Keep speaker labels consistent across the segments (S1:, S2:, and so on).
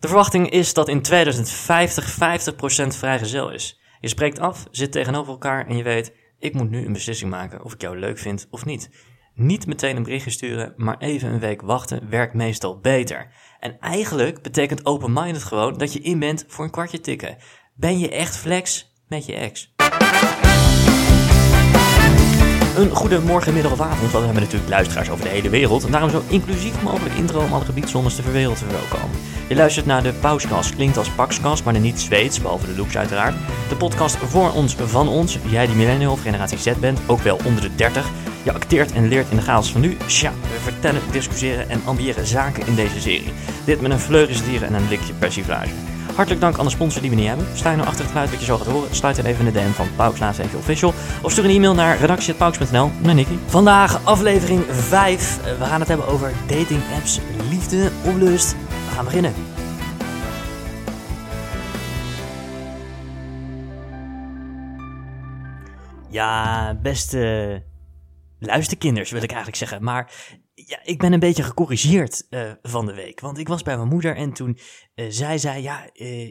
S1: De verwachting is dat in 2050 50% vrijgezel is. Je spreekt af, zit tegenover elkaar en je weet, ik moet nu een beslissing maken of ik jou leuk vind of niet. Niet meteen een berichtje sturen, maar even een week wachten werkt meestal beter. En eigenlijk betekent open-minded gewoon dat je in bent voor een kwartje tikken. Ben je echt flex met je ex? Een goede morgen, middag of avond, want we hebben natuurlijk luisteraars over de hele wereld. En daarom zo inclusief mogelijk intro om alle gebiedszondes ter wereld te verwelkomen. Je luistert naar de Pauskast, klinkt als Paxkast, maar dan niet Zweeds, behalve de looks uiteraard. De podcast voor ons, van ons, jij die millennial of generatie Z bent, ook wel onder de 30. Je acteert en leert in de chaos van nu. Tja, we vertellen, discussiëren en ambiëren zaken in deze serie. Dit met een vleugelsdieren en een likje persiflage. Hartelijk dank aan de sponsor die we niet hebben. Sta je nou achter het geluid dat je zo gaat horen? Sluit dan even in de DM van Pauks laatst even official. Of stuur een e-mail naar redactie.pauks.nl naar Nicky. Vandaag aflevering 5. Eh, We gaan het hebben over dating apps, liefde, onlust. We gaan beginnen. Ja, beste luisterkinders wil ik eigenlijk zeggen. Maar ja, ik ben een beetje gecorrigeerd eh, van de week. Want ik was bij mijn moeder en toen eh, zij zei, ja, eh,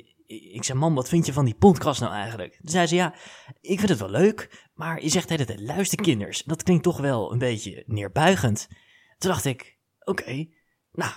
S1: ik zei, mam, wat vind je van die podcast nou eigenlijk? Toen zei ze, ja, ik vind het wel leuk, maar je zegt de hele tijd, luisterkinders. Dat klinkt toch wel een beetje neerbuigend. Toen dacht ik, oké, nou,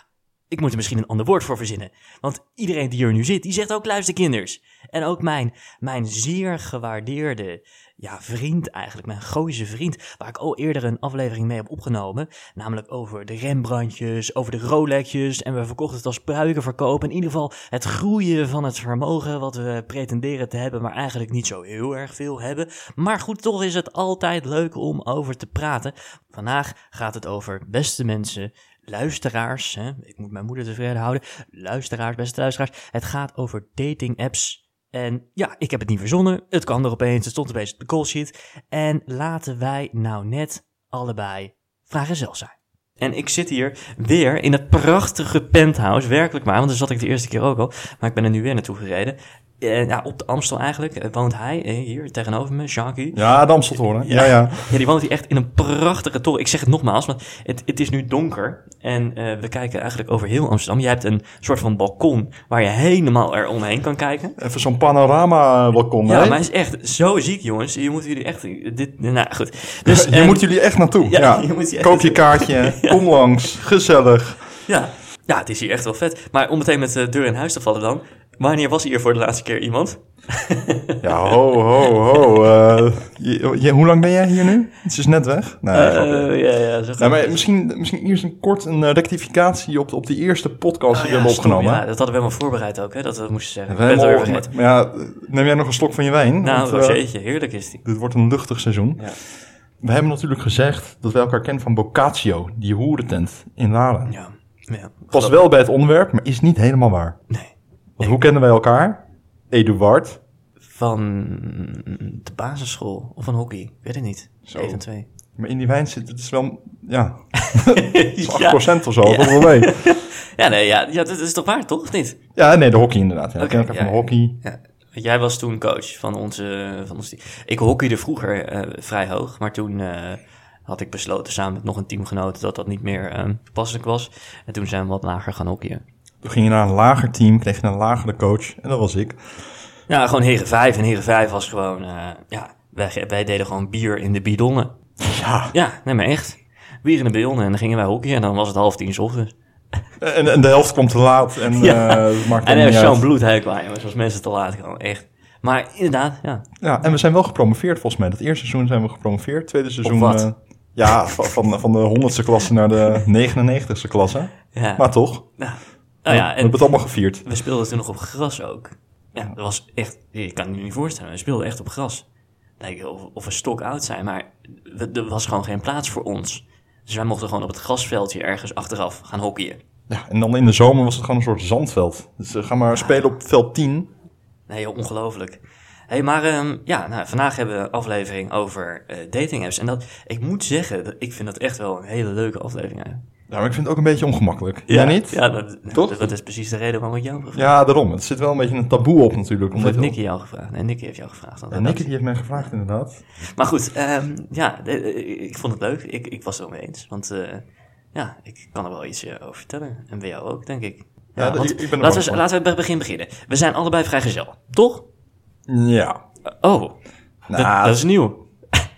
S1: ik moet er misschien een ander woord voor verzinnen. Want iedereen die er nu zit, die zegt ook luisterkinders. En ook mijn, mijn zeer gewaardeerde ja, vriend eigenlijk, mijn Gooise vriend, waar ik al eerder een aflevering mee heb opgenomen. Namelijk over de Rembrandtjes, over de Rolexjes en we verkochten het als pruikenverkoop. In ieder geval het groeien van het vermogen wat we pretenderen te hebben, maar eigenlijk niet zo heel erg veel hebben. Maar goed, toch is het altijd leuk om over te praten. Vandaag gaat het over beste mensen, luisteraars, hè, ik moet mijn moeder tevreden houden, luisteraars, beste luisteraars. Het gaat over dating apps. En ja, ik heb het niet verzonnen. Het kan er opeens. Het stond opeens op de call sheet. En laten wij nou net allebei vragen zelf zijn. En ik zit hier weer in het prachtige penthouse. Werkelijk maar, want daar zat ik de eerste keer ook al. Maar ik ben er nu weer naartoe gereden. Eh, ja, op de Amstel eigenlijk eh, woont hij eh, hier tegenover me, Jacques.
S2: Ja, Damstel hoor. Ja, ja.
S1: Ja, die woont hier echt in een prachtige toren. Ik zeg het nogmaals, want het, het is nu donker. En eh, we kijken eigenlijk over heel Amsterdam. Je hebt een soort van balkon waar je helemaal eromheen kan kijken.
S2: Even zo'n panorama welkom.
S1: Ja, maar
S2: hè?
S1: hij is echt zo ziek, jongens. Je moet jullie echt... Dit, nou, goed. Dus,
S2: je
S1: ehm,
S2: moet jullie echt naartoe.
S1: ja,
S2: Ja,
S1: je moet je echt
S2: Koop je kaartje, kom langs, gezellig.
S1: ja, ja, het is hier echt wel vet. Maar om meteen met de deur in huis te vallen dan. Wanneer was hier voor de laatste keer iemand?
S2: Ja, ho, ho, ho. eh, je, je- hoe lang ben jij hier nu? Het is net weg. Nee, grapje.
S1: Eh, ja, ja, zo gaat
S2: Ja, maar
S1: het.
S2: misschien, misschien eerst een kort een eh, rectificatie op, op die eerste podcast die
S1: Oh
S2: we
S1: ja,
S2: hebben
S1: stom,
S2: opgenomen.
S1: ja, dat hadden we helemaal voorbereid ook, hè, dat we dat moesten zeggen.
S2: We
S1: Ik ben het
S2: hebben
S1: alweer
S2: al-
S1: vergeten.
S2: maar ja, neem jij nog een slok van je wijn?
S1: Nou,
S2: Want, eh,
S1: rozeetje, heerlijk is die.
S2: dit wordt een luchtig seizoen.
S1: Ja.
S2: We hebben natuurlijk gezegd dat we elkaar kennen van Boccaccio, die hoerentent in Laren.
S1: Ja, ja.
S2: Past wel bij het onderwerp, maar is niet helemaal waar.
S1: Nee.
S2: Want hoe kennen wij elkaar? Eduard.
S1: Van de basisschool of van hockey, ik weet het niet.
S2: Zo.
S1: 1 en 2.
S2: Maar in die wijn zit het is wel, ja, het is 8%
S1: ja.
S2: of zo. dat valt wel mee.
S1: ja, nee, ja, ja, dat is toch waar, toch? Of niet?
S2: Ja, nee, de hockey inderdaad. Ja.
S1: Oké,
S2: ik ken elkaar
S1: ja,
S2: van
S1: ja.
S2: hockey.
S1: Ja. Want Jij was toen coach van onze, van ons team. Ik hockeyde vroeger eh, vrij hoog, maar toen eh, had ik besloten samen met nog een teamgenoot dat dat niet meer eh, toepasselijk was. En toen zijn we wat lager gaan hockeyen.
S2: Toen ging je naar een lager team, kreeg je een lagere coach. En dat was ik.
S1: Ja, gewoon Heren 5. En Heren 5 was gewoon, eh, ja, wij, ge- wij deden gewoon bier in de bidonnen.
S2: Ja.
S1: Ja, nee maar echt. Bier in de bidonnen en dan gingen wij hockeyen en dan was het half tien 's ochtends.
S2: En, en de helft kwam te laat. En
S1: Ja.
S2: eh, dat
S1: En
S2: maakt dan
S1: er
S2: niet
S1: is
S2: uit.
S1: zo'n bloedhekel aan jongens, als mensen te laat komen, echt. Maar inderdaad, ja.
S2: Ja, en we zijn wel gepromoveerd volgens mij. Dat eerste seizoen zijn we gepromoveerd. Tweede seizoen...
S1: wat?
S2: eh, ja, van, van, van de 100ste klasse naar de 99ste klasse.
S1: Ja,
S2: Maar toch,
S1: ja. Nou
S2: we
S1: ja, en
S2: hebben het allemaal gevierd.
S1: We speelden toen nog op gras ook. Ja, dat was echt... Ik kan het me niet voorstellen. We speelden echt op gras. Lijkt of, of we stok oud zijn, maar we- er was gewoon geen plaats voor ons. Dus wij mochten gewoon op het grasveldje ergens achteraf gaan hockeyen.
S2: Ja, en dan in de zomer was het gewoon een soort zandveld. Dus eh, ga maar spelen op veld 10.
S1: Nee, joh, ongelooflijk. hey, maar ehm, ja, nou, vandaag hebben we een aflevering over eh dating apps. En dat, ik moet zeggen, dat, ik vind dat echt wel een hele leuke aflevering. eigenlijk.
S2: Ja, maar ik vind het ook een beetje ongemakkelijk. Ja, niet? Ja.
S1: Ja, dat,
S2: Toch?
S1: Dat, dat is precies de reden waarom ik jou heb gevraagd.
S2: daarom. Het zit wel een beetje een taboe op natuurlijk.
S1: Of
S2: Omdat
S1: heeft Nicky jou gevraagd? Nee, Nicky heeft jou gevraagd. want
S2: Ja,
S1: dat-
S2: Nicky die heeft mij gevraagd inderdaad.
S1: Maar goed, ehm, ja, de- de- ik vond het leuk. eh, Ik, ik was het wel mee eens. Want eh, ja, ik kan er wel iets eh, over vertellen. En bij jou ook, denk ik.
S2: Ja,
S1: Ja,
S2: dat-
S1: want
S2: ik- ik ben er
S1: laten,
S2: bang
S1: we,
S2: voor.
S1: laten we bij het begin beginnen. We zijn allebei vrijgezel, toch?
S2: Ja.
S1: Oh, dat,
S2: Nou,
S1: dat is nieuw.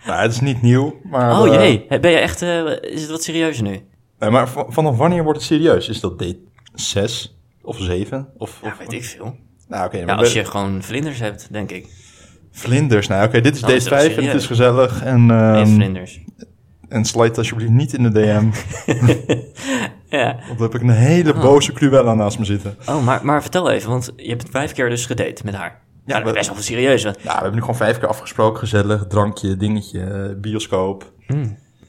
S2: nou, het is niet nieuw, maar...
S1: Oh
S2: eh,
S1: jee, ben je echt... eh, is het wat serieuzer nu?
S2: nee, maar v- vanaf wanneer wordt het serieus? Is dat date 6 of 7? Of,
S1: Ja,
S2: of-
S1: weet ik veel.
S2: Nou, oké.
S1: Ja,
S2: maar
S1: als
S2: we-
S1: je gewoon vlinders hebt, denk ik.
S2: Vlinders, nou oké, dit is
S1: Nou,
S2: date
S1: is dat
S2: 5 en het
S1: serieus?
S2: is gezellig. En,
S1: Nee,
S2: ehm
S1: vlinders.
S2: en slide alsjeblieft niet in de DM.
S1: Ja.
S2: Want dan heb ik een hele boze Cruella naast me zitten.
S1: Oh, maar, maar vertel even, want je hebt vijf keer dus gedate met haar. Ja, dat
S2: we-
S1: is best wel serieus. want-
S2: Ja, we hebben nu gewoon vijf keer afgesproken. Gezellig, drankje, dingetje, eh, bioscoop.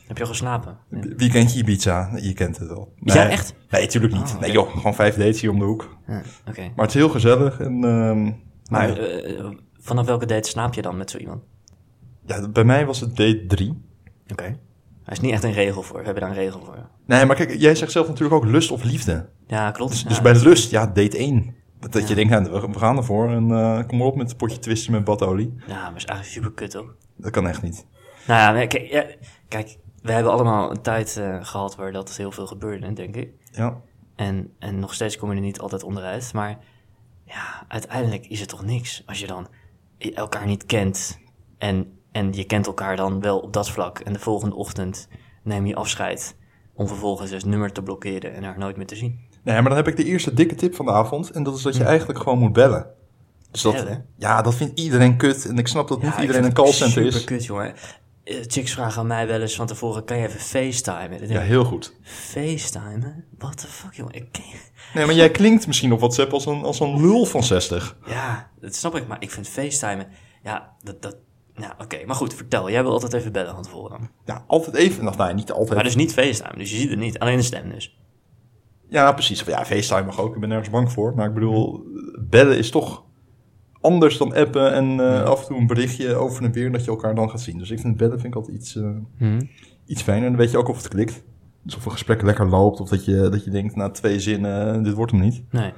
S1: Heb je al geslapen?
S2: Weekend Weekendje Ibiza, je kent het wel.
S1: Ja, echt? Ah,
S2: Nee, tuurlijk niet.
S1: oké.
S2: Nee joh, gewoon vijf dates hier om de hoek.
S1: Ja, Oké.
S2: Maar het is heel gezellig en... ehm,
S1: Maar
S2: ja,
S1: eh, vanaf welke date slaap je dan met zo iemand?
S2: ja, bij mij was het date drie.
S1: Oké. Er is niet echt een regel voor. We hebben daar een regel voor.
S2: Nee, maar kijk, jij zegt zelf natuurlijk ook lust of liefde.
S1: Ja, klopt.
S2: Dus,
S1: ja.
S2: dus bij lust, ja, date één. Dat, dat je denkt, nou, we- we gaan ervoor en eh, kom maar op met een potje twisten met badolie.
S1: Ja, maar is eigenlijk super kut, hoor.
S2: Dat kan echt niet.
S1: Nou ja, maar kijk, ja, kijk, we hebben allemaal een tijd eh, gehad waar dat heel veel gebeurde, denk ik.
S2: Ja.
S1: En, en nog steeds kom je er niet altijd onderuit. Maar ja, uiteindelijk is het toch niks als je dan i- elkaar niet kent. En, en je kent elkaar dan wel op dat vlak. En de volgende ochtend neem je afscheid om vervolgens dus nummer te blokkeren en haar nooit meer te zien.
S2: Nee, maar dan heb ik de eerste dikke tip van de avond. En dat is
S1: Hm.
S2: dat je eigenlijk gewoon moet bellen. Dus dat,
S1: Bellen?
S2: Ja, dat vindt iedereen kut. En ik snap dat niet
S1: ik
S2: iedereen een
S1: vind het
S2: callcenter is.
S1: Super kut, jongen. Eh, Chicks vragen aan mij wel eens van tevoren, kan je even facetimen? Dan
S2: Ja,
S1: denk ik,
S2: heel goed.
S1: facetimen? What the fuck, jongen? Ik ken je-
S2: Nee, maar jij klinkt misschien op WhatsApp als een, als een lul van 60.
S1: Ja, dat snap ik, maar ik vind facetimen... Ja, dat... dat nou, oké, maar goed, vertel. Jij wil altijd even bellen van tevoren.
S2: Ja, altijd even. Nou, nee, niet altijd.
S1: Maar dus niet FaceTime, dus je ziet het niet. Alleen de stem dus.
S2: Ja, precies. Of Ja, FaceTime mag ook. Ik ben nergens bang voor. Maar ik bedoel, bellen is toch anders dan appen. En eh, af en toe een berichtje over en weer dat je elkaar dan gaat zien. Dus ik vind bellen vind ik altijd iets, eh,
S1: Hm.
S2: iets fijner. En dan weet je ook of het klikt. Dus of een gesprek lekker loopt. Of dat je, dat je denkt, na twee zinnen, eh, dit wordt hem niet.
S1: Nee.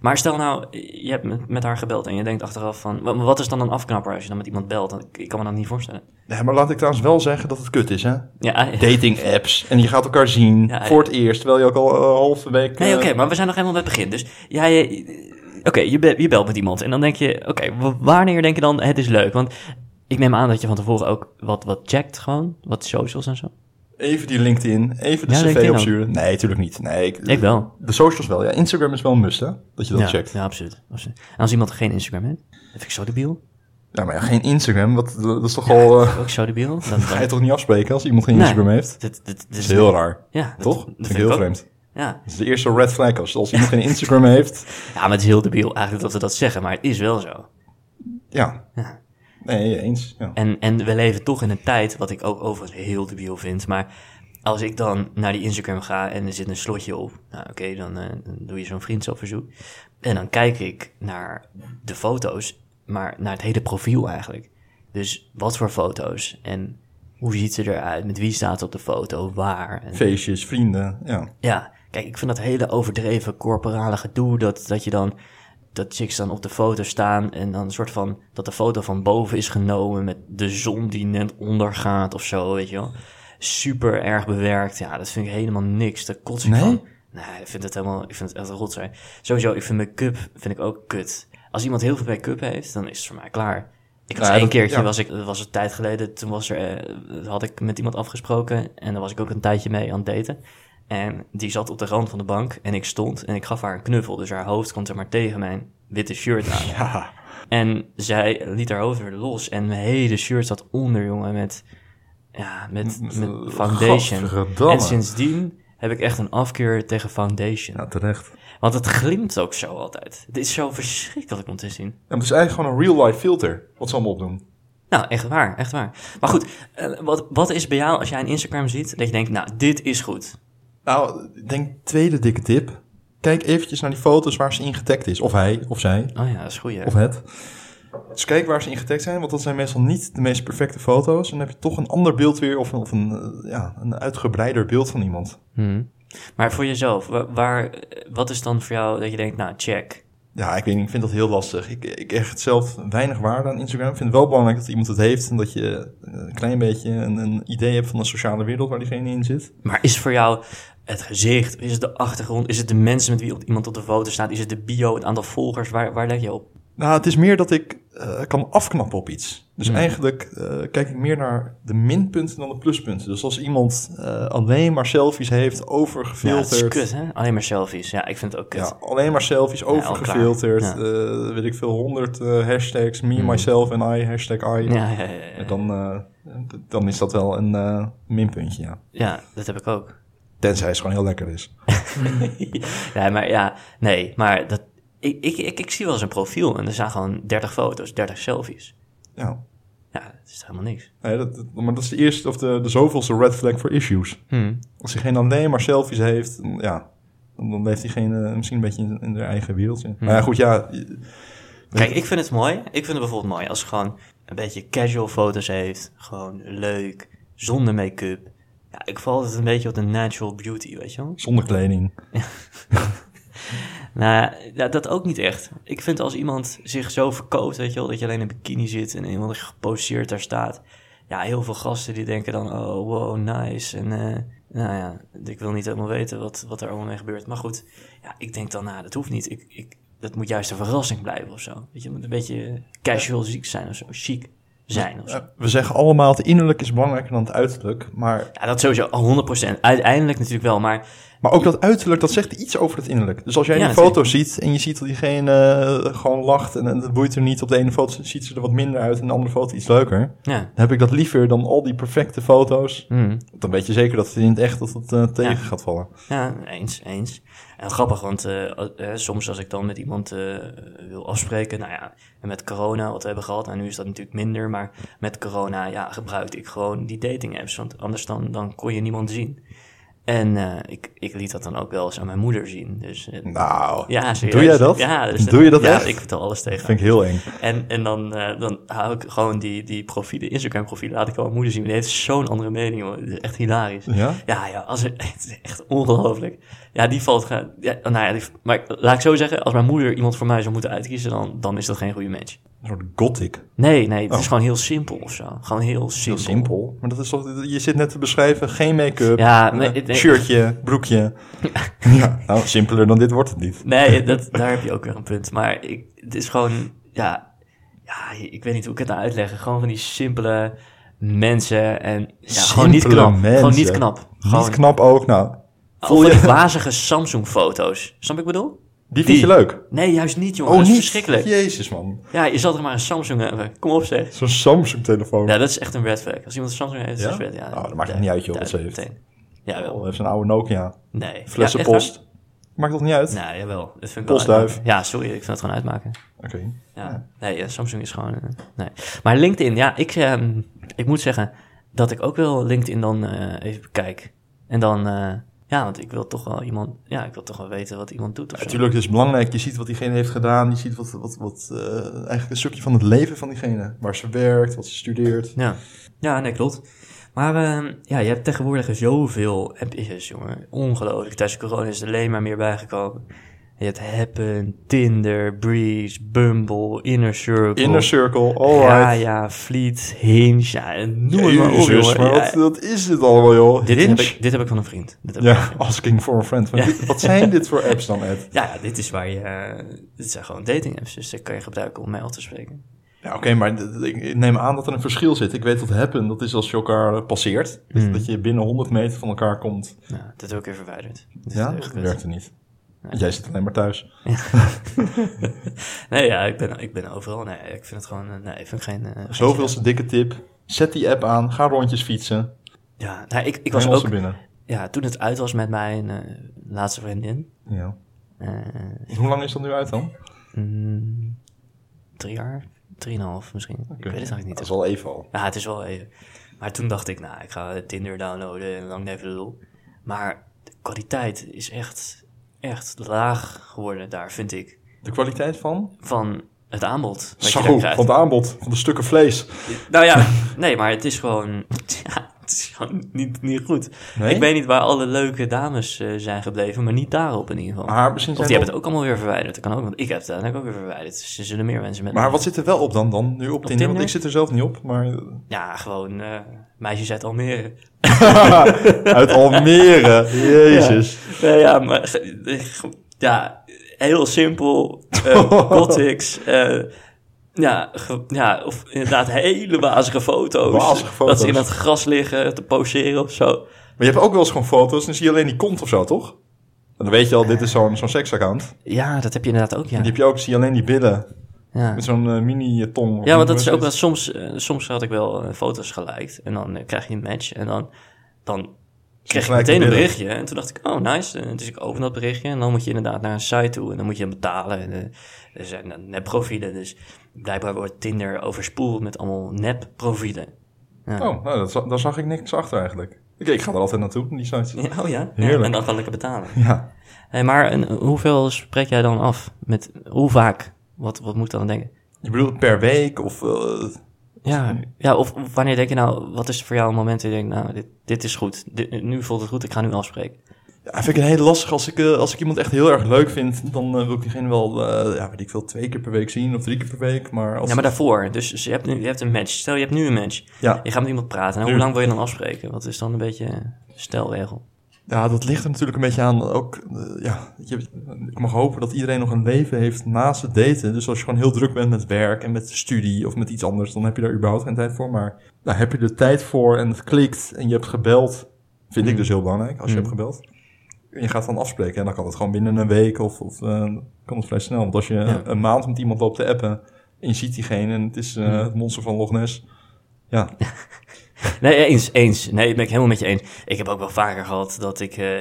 S1: Maar stel nou, je hebt met- met haar gebeld en je denkt achteraf van... wa- maar Wat is dan een afknapper als je dan met iemand belt? Want Ik ik kan me dat niet voorstellen.
S2: Nee, maar laat ik trouwens wel zeggen dat het kut is, hè?
S1: Ja, eh,
S2: Dating apps. En je gaat elkaar zien
S1: Ja,
S2: voor het eerst, terwijl je ook al een halve week...
S1: Nee,
S2: eh,
S1: oké, maar we zijn nog helemaal bij het begin. Dus jij... eh, Oké, je, be- je belt met iemand en dan denk je... Oké, wa- wanneer denk je dan het is leuk? Want ik neem aan dat je van tevoren ook wat, wat checkt gewoon. Wat socials en zo.
S2: eh, Even die LinkedIn, even de
S1: Ja,
S2: cv
S1: LinkedIn ook.
S2: opsturen. Nee, natuurlijk niet. Nee, ik,
S1: Ik wel.
S2: De socials wel, ja. Instagram is wel een must, hè? Dat je dat
S1: ja,
S2: checkt. Ja.
S1: Ja, absoluut. absoluut. En als iemand geen Instagram heeft, dat vind ik zo debiel.
S2: maar ja, geen Instagram, wat, dat is toch al... eh,
S1: Ook zo debiel. Dat, dat-
S2: ga je toch niet afspreken als iemand geen
S1: Nee.
S2: Instagram
S1: Dat,
S2: heeft?
S1: dat, dat
S2: Dat is heel raar.
S1: Ja, dat-
S2: toch?
S1: dat
S2: Dat
S1: vind
S2: vind ik
S1: ik
S2: heel
S1: ook.
S2: vreemd.
S1: Ja.
S2: Dat is de eerste red flag. Als, als iemand geen Instagram heeft,
S1: ja, maar het is heel debiel eigenlijk dat we dat zeggen, maar het is wel zo.
S2: ja.
S1: Ja.
S2: Nee, eens. Ja.
S1: En, en we leven toch in een tijd, wat ik ook overigens heel debiel vind, maar als ik dan naar die Instagram ga en er zit een slotje op, nou oké, dan, eh, dan doe je zo'n vriendschapverzoek. En dan kijk ik naar de foto's, maar naar het hele profiel eigenlijk. Dus wat voor foto's en hoe ziet ze eruit, met wie staat ze op de foto, waar. En
S2: Feestjes, vrienden, ja.
S1: Ja, kijk, ik vind dat hele overdreven corporale gedoe dat, dat je dan dat chicks dan op de foto staan en dan een soort van dat de foto van boven is genomen met de zon die net ondergaat of zo, weet je wel. Super erg bewerkt. Ja, dat vind ik helemaal niks. Daar kots ik
S2: Nee?
S1: van. Nee, ik vind het helemaal, ik vind het echt rot zijn. Sowieso, ik vind make-up vind ik ook kut. Als iemand heel veel make-up heeft, dan is het voor mij klaar. Ik was
S2: Nou Ja,
S1: één
S2: dat-
S1: keertje
S2: ja.
S1: was ik, dat was een tijd geleden, toen was er, eh, had ik met iemand afgesproken en daar was ik ook een tijdje mee aan het daten. En die zat op de rand van de bank en ik stond en ik gaf haar een knuffel, dus haar hoofd kwam er maar tegen mijn witte shirt aan.
S2: Ja,
S1: En zij liet haar hoofd weer los en mijn hele shirt zat onder, jongen, met, ja, met, met foundation.
S2: Mm, eh, Gadverdamme.
S1: En sindsdien heb ik echt een afkeer tegen foundation.
S2: ja terecht.
S1: Want het glimt ook zo altijd. Het is zo verschrikkelijk om te zien.
S2: Ja, maar het is eigenlijk gewoon een real-life filter, wat ze allemaal opdoen.
S1: Nou, echt waar, echt waar. Maar goed, eh, wat, wat is bij jou als jij een Instagram ziet dat je denkt, nou, dit is goed?
S2: Nou, ik denk tweede dikke tip. Kijk eventjes naar die foto's waar ze in getagd is. Of hij, of zij,
S1: Oh ja, dat is goed. hè?
S2: of het. Dus kijk waar ze in getagd zijn, want dat zijn meestal niet de meest perfecte foto's. En dan heb je toch een ander beeld weer, of, een- of een, eh, ja, een uitgebreider beeld van iemand.
S1: Hm. Maar voor jezelf, wa- waar, eh, wat is dan voor jou dat je denkt, nou, check.
S2: Ja, ik weet niet, ik vind dat heel lastig. Ik, ik hecht zelf weinig waarde aan Instagram. Ik vind het wel belangrijk dat iemand het heeft en dat je eh, een klein beetje een, een idee hebt van de sociale wereld waar diegene in zit.
S1: Maar is voor jou het gezicht? Is het de achtergrond? Is het de mensen met wie op- iemand op de foto staat? Is het de bio, het aantal volgers? Waar, waar let je op?
S2: Nou, het is meer dat ik eh, kan afknappen op iets.
S1: Hmm.
S2: Dus eigenlijk eh, kijk ik meer naar de minpunten dan de pluspunten. Dus als iemand eh, alleen maar selfies heeft,
S1: Ja, het is
S2: overgefilterd.
S1: kut, hè? Alleen maar selfies. Ja, ik vind het ook kut.
S2: Ja, alleen maar selfies, overgefilterd.
S1: Ja, al
S2: eh, weet ik veel, honderd eh, hashtags. Me, myself en I, hashtag I.
S1: Ja, ja, ja, ja.
S2: En Dan, eh, d- dan is dat wel een eh, minpuntje, ja.
S1: Ja, dat heb ik ook.
S2: Tenzij het gewoon heel lekker is.
S1: ja, maar ja, nee, maar dat, ik, ik, ik, ik zie wel eens een profiel en er staan gewoon 30 foto's, 30 selfies.
S2: Ja,
S1: Ja, dat is helemaal niks.
S2: nee, dat, dat- maar dat is de eerste of de, de zoveelste red flag voor issues. Als hij geen alleen maar selfies heeft, dan- ja, dan dan leeft diegene misschien een beetje in, in haar eigen wereldje. Maar ja, goed, ja, je-
S1: Kijk, ik vind het mooi. Ik vind het bijvoorbeeld mooi als ze gewoon een beetje casual foto's heeft. Gewoon leuk, zonder make-up. Ja, ik val altijd een beetje op de natural beauty, weet je wel.
S2: zonder kleding.
S1: Nou ja, dat ook niet echt. Ik vind als iemand zich zo verkoopt, weet je wel, dat je alleen in bikini zit en iemand geposeerd daar staat. Ja, heel veel gasten die denken dan, oh wow, nice. En eh, nou ja, ik wil niet helemaal weten wat, wat er allemaal mee gebeurt. Maar goed, ja, ik denk dan, nou, dat hoeft niet. Ik, ik, dat moet juist een verrassing blijven of zo. Weet je, het moet een beetje casual ziek zijn of zo, chic zijn of zo.
S2: Eh, We zeggen allemaal, het innerlijk is belangrijker dan het uiterlijk. Maar,
S1: Ja, dat sowieso, 100%. Uiteindelijk natuurlijk wel, maar
S2: maar ook dat uiterlijk, dat zegt iets over het innerlijk. Dus als jij
S1: Ja,
S2: die foto ziet en je ziet dat diegene eh, gewoon lacht en, en dat boeit er niet. Op de ene foto ziet ze er wat minder uit en de andere foto iets leuker.
S1: ja.
S2: Dan heb ik dat liever dan al die perfecte foto's.
S1: Hmm.
S2: Dan weet je zeker dat het in het echt dat het eh, tegen gaat vallen.
S1: Ja, eens, eens. En grappig, want eh, al- eh, soms als ik dan met iemand eh, wil afspreken, nou ja, en met corona wat we hebben gehad, nou nu is dat natuurlijk minder, maar met corona, ja, gebruikte ik gewoon die dating apps, want anders dan, dan kon je niemand zien. En eh, ik, ik liet dat dan ook wel eens aan mijn moeder zien, dus... eh,
S2: Nou,
S1: ja, serieus.
S2: doe jij dat?
S1: Ja, dus
S2: Doe je dat
S1: ja,
S2: echt?
S1: ik vertel alles tegen
S2: dat vind ik heel eng.
S1: en, en dan, eh, dan hou ik gewoon die, die profielen, Instagram profielen, laat ik aan mijn moeder zien. Die heeft zo'n andere mening, hoor. Het is echt hilarisch.
S2: Ja?
S1: Ja, ja, als er, het is echt ongelooflijk. Ja, die valt gaan. Ja, nou ja, die, maar ik- laat ik zo zeggen, als mijn moeder iemand voor mij zou moeten uitkiezen, dan, dan is dat geen goede match.
S2: Een soort gothic.
S1: Nee, nee, het is
S2: Oh.
S1: gewoon heel simpel of zo. Gewoon heel
S2: Heel
S1: simpel.
S2: simpel. Maar dat is toch, je zit net te beschrijven, geen make-up,
S1: Ja,
S2: eh,
S1: nee, ik denk-
S2: shirtje, broekje. ja, nou, simpeler dan dit wordt het niet.
S1: Nee, eh, dat, daar heb je ook weer een punt. Maar ik, het is gewoon, ja, ja, ik weet niet hoe ik het nou uitleggen. Gewoon van die simpele mensen en ja, gewoon niet
S2: Simpele
S1: knap. Gewoon niet
S2: mensen.
S1: knap.
S2: Niet
S1: Gewoon Oh,
S2: knap ook, nou.
S1: Voel
S2: Voel
S1: je
S2: je,
S1: wazige Samsung-foto's. Snap ik bedoel?
S2: die vind je leuk. Oh,
S1: Nee, juist niet, jongen. Oh, dat is verschrikkelijk.
S2: Jezus, man.
S1: Ja, je zal er maar een Samsung hebben. Kom op, zeg.
S2: Zo'n Samsung-telefoon.
S1: Ja, dat is echt een red flag. Als iemand een Samsung heeft, is
S2: Ja?
S1: het red. Ja,
S2: Nou, dat maakt het niet uit, joh, wat ze
S1: duidelijk
S2: heeft.
S1: meteen. Jawel.
S2: Oh, heeft een oude Nokia.
S1: Nee.
S2: Flessenpost. Maakt toch niet uit?
S1: Ja, echt waar? nou, jawel. Dat vind ik
S2: Postduif.
S1: wel uitmaken. Ja, sorry. Ik vind het gewoon uitmaken.
S2: Oké.
S1: Ja. Nee, ja, Samsung is gewoon... eh, nee. Maar LinkedIn, ja. Ik, ehm, ik moet zeggen dat ik ook wel LinkedIn dan eh, even bekijk. En dan... eh, ja, want ik wil toch wel iemand... Ja, ik wil toch wel weten wat iemand doet of zo.
S2: Natuurlijk, het is belangrijk. Je ziet wat diegene heeft gedaan. Je ziet wat, wat, wat eh, eigenlijk een stukje van het leven van diegene. Waar ze werkt, wat ze studeert.
S1: Ja, ja nee, klopt. Maar ehm, ja, je hebt tegenwoordig zoveel appjes, jongen. Ongelooflijk. Tijdens corona is er alleen maar meer bijgekomen. Je hebt Happen, Tinder, Breeze, Bumble, Inner Circle.
S2: Inner circle,
S1: Oh. Ja,
S2: alright.
S1: ja, Fleet, Hinge, ja, en noem het
S2: Jezus,
S1: maar op, jongen.
S2: maar
S1: Ja,
S2: wat, wat is dit allemaal, joh?
S1: dit, heb
S2: Hinge?
S1: ik, dit heb ik van een vriend. Dit heb ik van een
S2: Ja,
S1: vriend.
S2: asking for a friend. Maar dit- wat zijn dit voor apps dan, Ed?
S1: Ja, ja, dit is waar je... eh, dit zijn gewoon dating apps, dus dat kan je gebruiken om mij af te spreken.
S2: Ja, oké, maar d- d- ik neem aan dat er een verschil zit. Ik weet dat happen, dat is als je elkaar eh, passeert. Dus
S1: Hmm.
S2: Dat je binnen 100 meter van elkaar komt.
S1: Nou, dat heb ik weer verwijderd. Dit
S2: Ja,
S1: is echt
S2: dat
S1: kut.
S2: werkt er niet. Jij zit alleen maar thuis.
S1: Nee, ja, ik ben, ik ben overal. Nee, ik vind het gewoon... eh, Nee, ik vind geen... eh, geen
S2: Zoveelste dikke tip. Zet die app aan, ga rondjes fietsen.
S1: Ja, nou, ik, ik
S2: Ik was
S1: was
S2: ook...
S1: ook...
S2: binnen.
S1: Ja, toen het uit was met mijn eh, laatste vriendin.
S2: Ja.
S1: eh,
S2: Hoe lang is dat nu uit dan?
S1: mm, drie jaar? Drieënhalf misschien. Ik weet het eigenlijk niet.
S2: Dat is al even al.
S1: Ja, het is wel even. Maar toen dacht ik, nou, ik ga Tinder downloaden en lang even de lol. Maar de kwaliteit is echt, echt laag geworden daar, vind ik.
S2: De kwaliteit van?
S1: Van het aanbod wat je
S2: Zo,
S1: daar
S2: van
S1: krijgt.
S2: het aanbod, van de stukken vlees.
S1: Nou ja, nee, maar het is gewoon... Ja, het is gewoon niet, niet goed.
S2: Nee?
S1: Ik weet niet waar alle leuke dames eh, zijn gebleven, maar niet daarop in ieder geval.
S2: Maar misschien
S1: of
S2: zijn
S1: die
S2: er
S1: hebben het ook allemaal weer verwijderd. Dat kan ook, want ik heb het uiteindelijk ook weer verwijderd. Dus er zullen meer mensen met
S2: Maar wat zit er wel op dan, dan nu op, Tinder?
S1: Tinder?
S2: Want ik zit er zelf niet op, maar...
S1: Ja, gewoon eh, meisjes uit Almere.
S2: Uit Almere, jezus.
S1: Nee, ja, maar ge- eh, ge- ja, heel simpel. eh gothics. eh, ja, ge- ja, of inderdaad hele wazige foto's.
S2: Wazige foto's.
S1: Dat ze in het gras liggen te poseren of zo.
S2: Maar je hebt ook wel eens gewoon foto's en dan zie je alleen die kont of zo, toch? En dan weet je al, dit is zo'n zo'n seksaccount.
S1: Ja, dat heb je inderdaad ook, ja.
S2: Die heb je ook, zie je alleen die billen.
S1: Ja,
S2: Met zo'n eh, mini-tong.
S1: ja want dat is ook wel... Soms, eh, soms had ik wel eh, foto's geliked en dan eh, krijg je een match. En dan, dan kreeg ik
S2: gelijk
S1: meteen
S2: de
S1: een
S2: billen.
S1: berichtje. En toen dacht ik, oh nice. En dus ik open dat berichtje en dan moet je inderdaad naar een site toe. En dan moet je betalen. En eh, er zijn dan nepprofielen. Dus blijkbaar wordt Tinder overspoeld met allemaal nepprofielen.
S2: Oh, nou, dat, za- daar zag ik niks achter eigenlijk. Oké, ik ga er altijd naartoe, die sites.
S1: Ja, oh ja?
S2: Heerlijk.
S1: Ja, en dan kan ik het betalen.
S2: Ja.
S1: Hey, maar en, hoeveel spreek jij dan af? Met, hoe vaak? Wat, wat moet ik dan denken?
S2: Je bedoelt per week of... eh,
S1: Ja, ja of of wanneer denk je nou, wat is voor jou een moment dat je denkt, nou, dit, dit is goed. Dit, nu voelt het goed, ik ga nu afspreken.
S2: Ja, vind ik een hele lastig. Als ik, eh, als ik iemand echt heel erg leuk vind, dan eh, wil ik diegene wel, eh, ja, weet ik veel, twee keer per week zien of drie keer per week. Maar als...
S1: Ja, maar daarvoor. Dus, dus je, hebt nu, je hebt een match. Stel, je hebt nu een match.
S2: ja.
S1: Je gaat met iemand praten. En
S2: Nu.
S1: hoe lang wil je dan afspreken? Wat is dan een beetje een stelregel?
S2: Ja, dat ligt er natuurlijk een beetje aan. Ook, eh, ja, je, ik mag hopen dat iedereen nog een leven heeft naast het daten. Dus als je gewoon heel druk bent met werk en met studie of met iets anders, dan heb je daar überhaupt geen tijd voor. Maar nou, heb je er tijd voor en het klikt en je hebt gebeld, vind ik dus heel belangrijk als je
S1: Mm.
S2: hebt gebeld. En je gaat dan afspreken en dan kan het gewoon binnen een week of, of eh, kan het vrij snel. Want als je
S1: Ja.
S2: een maand met iemand loopt te appen en je ziet diegene en het is
S1: Mm.
S2: eh, het monster van Loch Ness. Ja,
S1: Nee, eens, eens. Nee, dat ben ik helemaal met je eens. Ik heb ook wel vaker gehad dat ik... eh,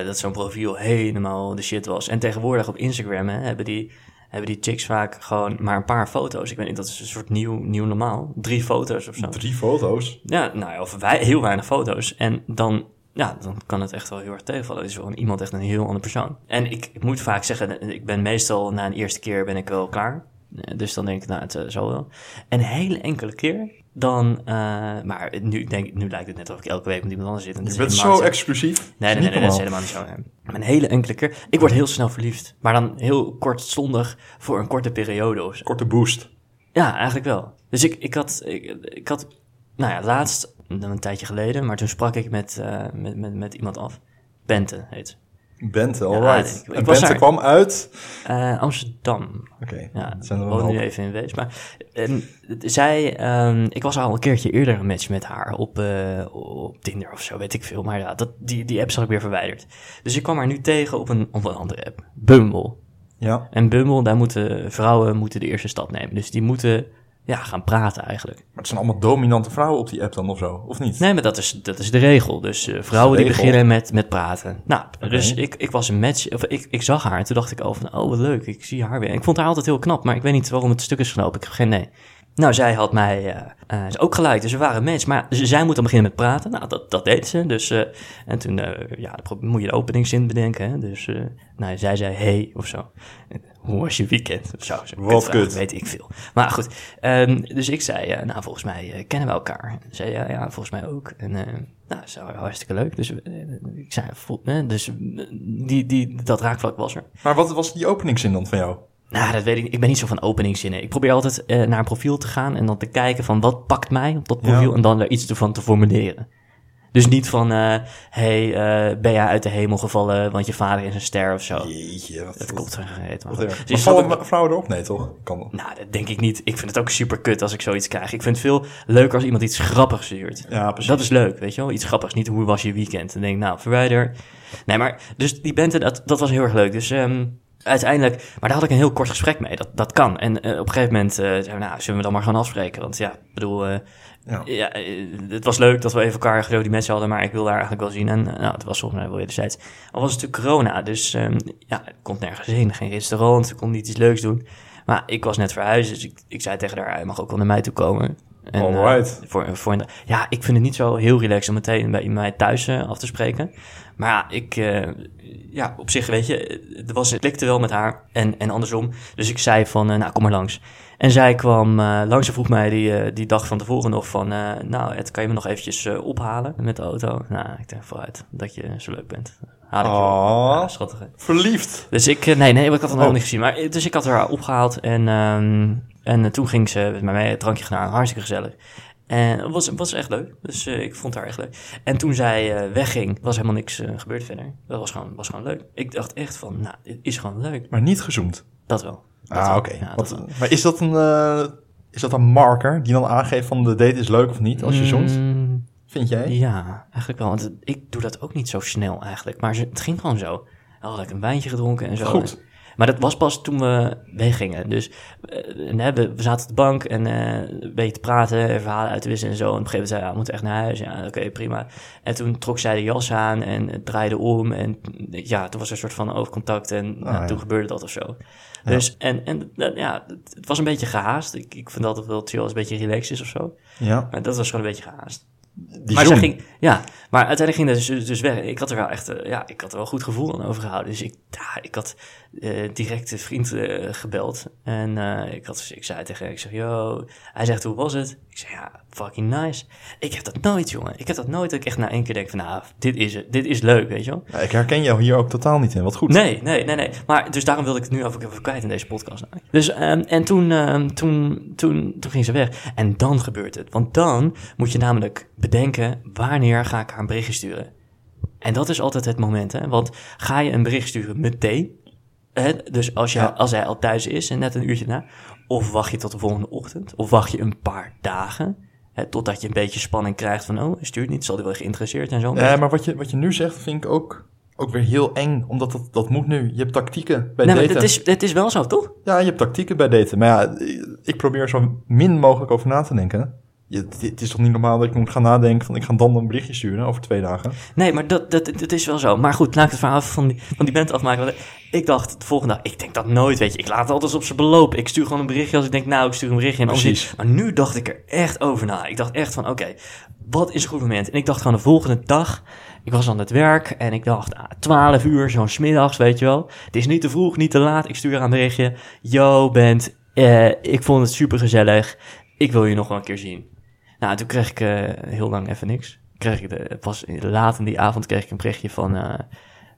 S1: eh, dat zo'n profiel helemaal de shit was. En tegenwoordig op Instagram hè, hebben, die, hebben die chicks vaak gewoon maar een paar foto's. Ik weet niet, dat is een soort nieuw, nieuw normaal. Drie foto's of zo.
S2: drie foto's.
S1: Ja, nou ja, of wij, heel weinig foto's. En dan, ja, dan kan het echt wel heel erg tegenvallen. is gewoon iemand echt een heel ander persoon. En ik, ik moet vaak zeggen, ik ben meestal na een eerste keer ben ik wel klaar. Eh, Dus dan denk ik, nou, het eh, zal wel. En een hele enkele keer dan... eh, maar nu, denk, ik- nu lijkt het net alsof ik elke week met iemand anders zit. En dat
S2: Je
S1: is
S2: bent
S1: helemaal
S2: zo
S1: niet
S2: exclusief.
S1: Nee, nee, nee,
S2: Niet
S1: nee, dat is
S2: normaal.
S1: helemaal niet zo. hè. Een hele enkele keer. Ik word heel snel verliefd. Maar dan heel kortstondig voor een korte periode of zo.
S2: Korte boost.
S1: Ja, eigenlijk wel. Dus ik, ik had, ik, ik had, nou ja, laatst, dan een tijdje geleden, maar toen sprak ik met, eh, met, met, met iemand af. Bente heet ze.
S2: Bente,
S1: Ja,
S2: alright.
S1: ik- ik
S2: en
S1: was
S2: Bente
S1: daar.
S2: kwam uit...
S1: Eh, Amsterdam.
S2: Oké,
S1: Ja,
S2: zijn
S1: ik
S2: er wel een
S1: woon nu
S2: hoop.
S1: even in Wees. Maar en, zij, ehm, ik was al een keertje eerder een match met haar op, eh, op Tinder of zo, weet ik veel. Maar ja, dat, die, die app zag ik weer verwijderd. Dus ik kwam haar nu tegen op een, op een andere app. Bumble.
S2: Ja,
S1: En Bumble, daar moeten vrouwen moeten de eerste stap nemen. Dus die moeten ja, gaan praten eigenlijk.
S2: maar het zijn allemaal dominante vrouwen op die app dan of zo, of niet?
S1: Nee, maar dat is, dat is de regel. Dus eh, vrouwen
S2: de
S1: die
S2: regel.
S1: beginnen met, met praten. Nou, dus ik, ik was een match. Of ik, ik zag haar en toen dacht ik al van, oh wat leuk, ik zie haar weer. En ik vond haar altijd heel knap, maar ik weet niet waarom het stuk is gelopen. Ik heb geen nee. Nou, zij had mij eh, eh, ook gelijk, dus we waren een match. Maar ze- zij moet dan beginnen met praten. Nou, dat, dat deed ze. Dus, eh, en toen eh, ja, dan pro- moet je de openingszin bedenken. Hè? Dus eh, nou, zij zei hey of zo. En, Hoe was je weekend? Of zo. Zo'n
S2: Wat
S1: kutvraag,
S2: kut.
S1: Weet ik veel. Maar goed, ehm, dus ik zei, eh, nou, volgens mij eh, kennen we elkaar. Ze zei, ja, ja, volgens mij ook. En eh nou, zo hartstikke leuk. Dus eh, ik zei, vol- eh, dus eh, die, die, dat raakvlak was er.
S2: Maar wat was die openingszin dan van jou?
S1: Nou, dat weet ik niet. Ik ben niet zo van openingszinnen. Ik probeer altijd eh, naar een profiel te gaan en dan te kijken van wat pakt mij op dat profiel
S2: Ja.
S1: en dan daar iets van te formuleren. Dus niet van, hé, hey, eh, ben jij uit de hemel gevallen, want je vader is een ster of zo.
S2: Jeetje, wat...
S1: Dat komt er gereed. Maar
S2: wat
S1: goed.
S2: erg.
S1: Dus
S2: Maar
S1: is dat
S2: vallen
S1: ook-
S2: ma- vrouwen erop? Nee, toch? Kan wel.
S1: nou, dat denk ik niet. Ik vind het ook super kut als ik zoiets krijg. Ik vind het veel leuker als iemand iets grappigs stuurt.
S2: Ja, precies.
S1: Dat is leuk, weet je wel? Iets grappigs. Niet hoe was je weekend? Dan denk ik, nou, verwijder. Nee, maar dus die bente, dat, dat was heel erg leuk. Dus ehm, uiteindelijk, maar daar had ik een heel kort gesprek mee. Dat, dat kan. En eh, op een gegeven moment eh, zeiden we, nou, zullen we dan maar gaan afspreken? Want ja, ik bedoel, eh,
S2: Ja.
S1: ja, eh, het was leuk dat we even elkaar gedoe die mensen hadden, maar ik wil daar eigenlijk wel zien. En eh, nou, het was volgens mij wel wederzijds. Al was het natuurlijk corona, dus ehm, ja, ik kon nergens heen. Geen restaurant, ik kon niet iets leuks doen. Maar ik was net verhuisd, dus ik, ik zei tegen haar, je mag ook wel naar mij toe komen. En,
S2: Alright.
S1: eh, voor, voor een- ja, ik vind het niet zo heel relaxed om meteen bij mij thuis eh, af te spreken. Maar ja, ik, eh, ja, op zich, weet je, het, was, het klikte wel met haar en, en andersom. Dus ik zei van, eh, nou, kom maar langs. En zij kwam eh, langs en vroeg mij die, eh, die dag van tevoren nog van, eh, nou, het kan je me nog eventjes eh, ophalen met de auto? Nou, ik dacht vooruit dat je zo leuk bent. Haal ik je.
S2: Ah.
S1: Ja, schattig, hè.
S2: Verliefd.
S1: Dus ik, eh, nee, nee, ik had het nog
S2: Oh.
S1: niet gezien. Maar, eh, dus ik had haar opgehaald en, ehm, en eh, toen ging ze met mij een drankje gedaan. Hartstikke gezellig. En het was, was echt leuk. Dus eh, ik vond haar echt leuk. En toen zij eh, wegging, was helemaal niks eh, gebeurd verder. Dat was gewoon, was gewoon leuk. Ik dacht echt van, nou, dit is gewoon leuk.
S2: Maar niet gezoomd.
S1: Dat wel. Dat
S2: Ah,
S1: wel.
S2: oké.
S1: Ja,
S2: Want,
S1: dat wel.
S2: maar is dat, een, eh, is dat een marker die dan aangeeft van de date is leuk of niet als je zoomt?
S1: Mm,
S2: Vind jij?
S1: ja, eigenlijk wel. Want het- ik doe dat ook niet zo snel eigenlijk. Maar ze- het ging gewoon zo. Had ik een wijntje gedronken en zo.
S2: Goed.
S1: Maar dat was pas toen we weggingen. Dus eh, en, hè, we, we zaten op de bank en eh, een beetje te praten en verhalen uit te wisselen en zo. En op een gegeven moment zei hij, "Ja, we moeten echt naar huis. Ja, oké, prima. En toen trok zij de jas aan en het draaide om. En ja, toen was er een soort van oogcontact en nou,
S2: Ah, ja.
S1: toen gebeurde dat of zo. Dus, en, en eh, ja, het, het was een beetje gehaast. Ik, ik vind altijd wel chill als het een beetje relaxed is of zo.
S2: Ja.
S1: Maar dat was gewoon een beetje gehaast.
S2: Die
S1: maar
S2: zoen.
S1: zij ging, ja, maar uiteindelijk ging dat dus, dus weg. Ik had er wel echt, eh, ja, ik had er wel een goed gevoel aan overgehouden. Dus ik, ja, ik had eh, direct een vriend eh, gebeld. En eh, ik, had, ik zei tegen hem, ik zeg, yo. Hij zegt, hoe was het? Ik zeg, ja, fucking nice. Ik heb dat nooit, jongen. Ik heb dat nooit dat ik echt na één keer denk van, nou, dit is het. Dit is leuk, weet je wel.
S2: Ja, ik herken jou hier ook totaal niet in. Wat goed.
S1: Nee, nee, nee, nee. Maar dus daarom wilde ik het nu ook even kwijt in deze podcast. Namelijk. Dus ehm, en toen, ehm, toen, toen, toen ging ze weg. En dan gebeurt het. Want dan moet je namelijk bedenken wanneer ga ik haar een berichtje sturen. En dat is altijd het moment, hè? Want ga je een bericht sturen meteen? Hè? Dus als, je,
S2: Ja.
S1: als hij al thuis is en net een uurtje na. Of wacht je tot de volgende ochtend? Of wacht je een paar dagen? Hè, totdat je een beetje spanning krijgt van, oh, hij stuurt niet, zal hij wel geïnteresseerd en zo.
S2: Nee, Eh, maar wat je, wat je nu zegt vind ik ook, ook weer heel eng. Omdat dat, dat moet nu. Je hebt tactieken bij
S1: nee, maar
S2: daten.
S1: het is, dit is wel zo, toch?
S2: Ja, je hebt tactieken bij daten. Maar ja, ik probeer zo min mogelijk over na te denken. Je, het is toch niet normaal dat ik moet gaan nadenken van ik ga dan een berichtje sturen over twee dagen.
S1: Nee, maar dat, dat, dat is wel zo. Maar goed, laat ik het verhaal even van die, van die band afmaken. Want ik dacht de volgende dag, ik denk dat nooit, weet je. Ik laat het altijd op zijn beloop. Ik stuur gewoon een berichtje als ik denk, nou, ik stuur een berichtje. En anders
S2: Precies.
S1: niet. Maar nu dacht ik er echt over na. Ik dacht echt van, oké, wat is een goed moment? En ik dacht gewoon de volgende dag, ik was aan het werk en ik dacht, ah, 12 uur, zo'n smiddags, weet je wel. Het is niet te vroeg, niet te laat. Ik stuur haar een berichtje. Yo, Bent, eh, ik vond het super gezellig. Ik wil je nog wel een keer zien. Nou, toen kreeg ik eh, heel lang even niks. Kreeg ik de, het was laat in die avond kreeg ik een berichtje van... eh,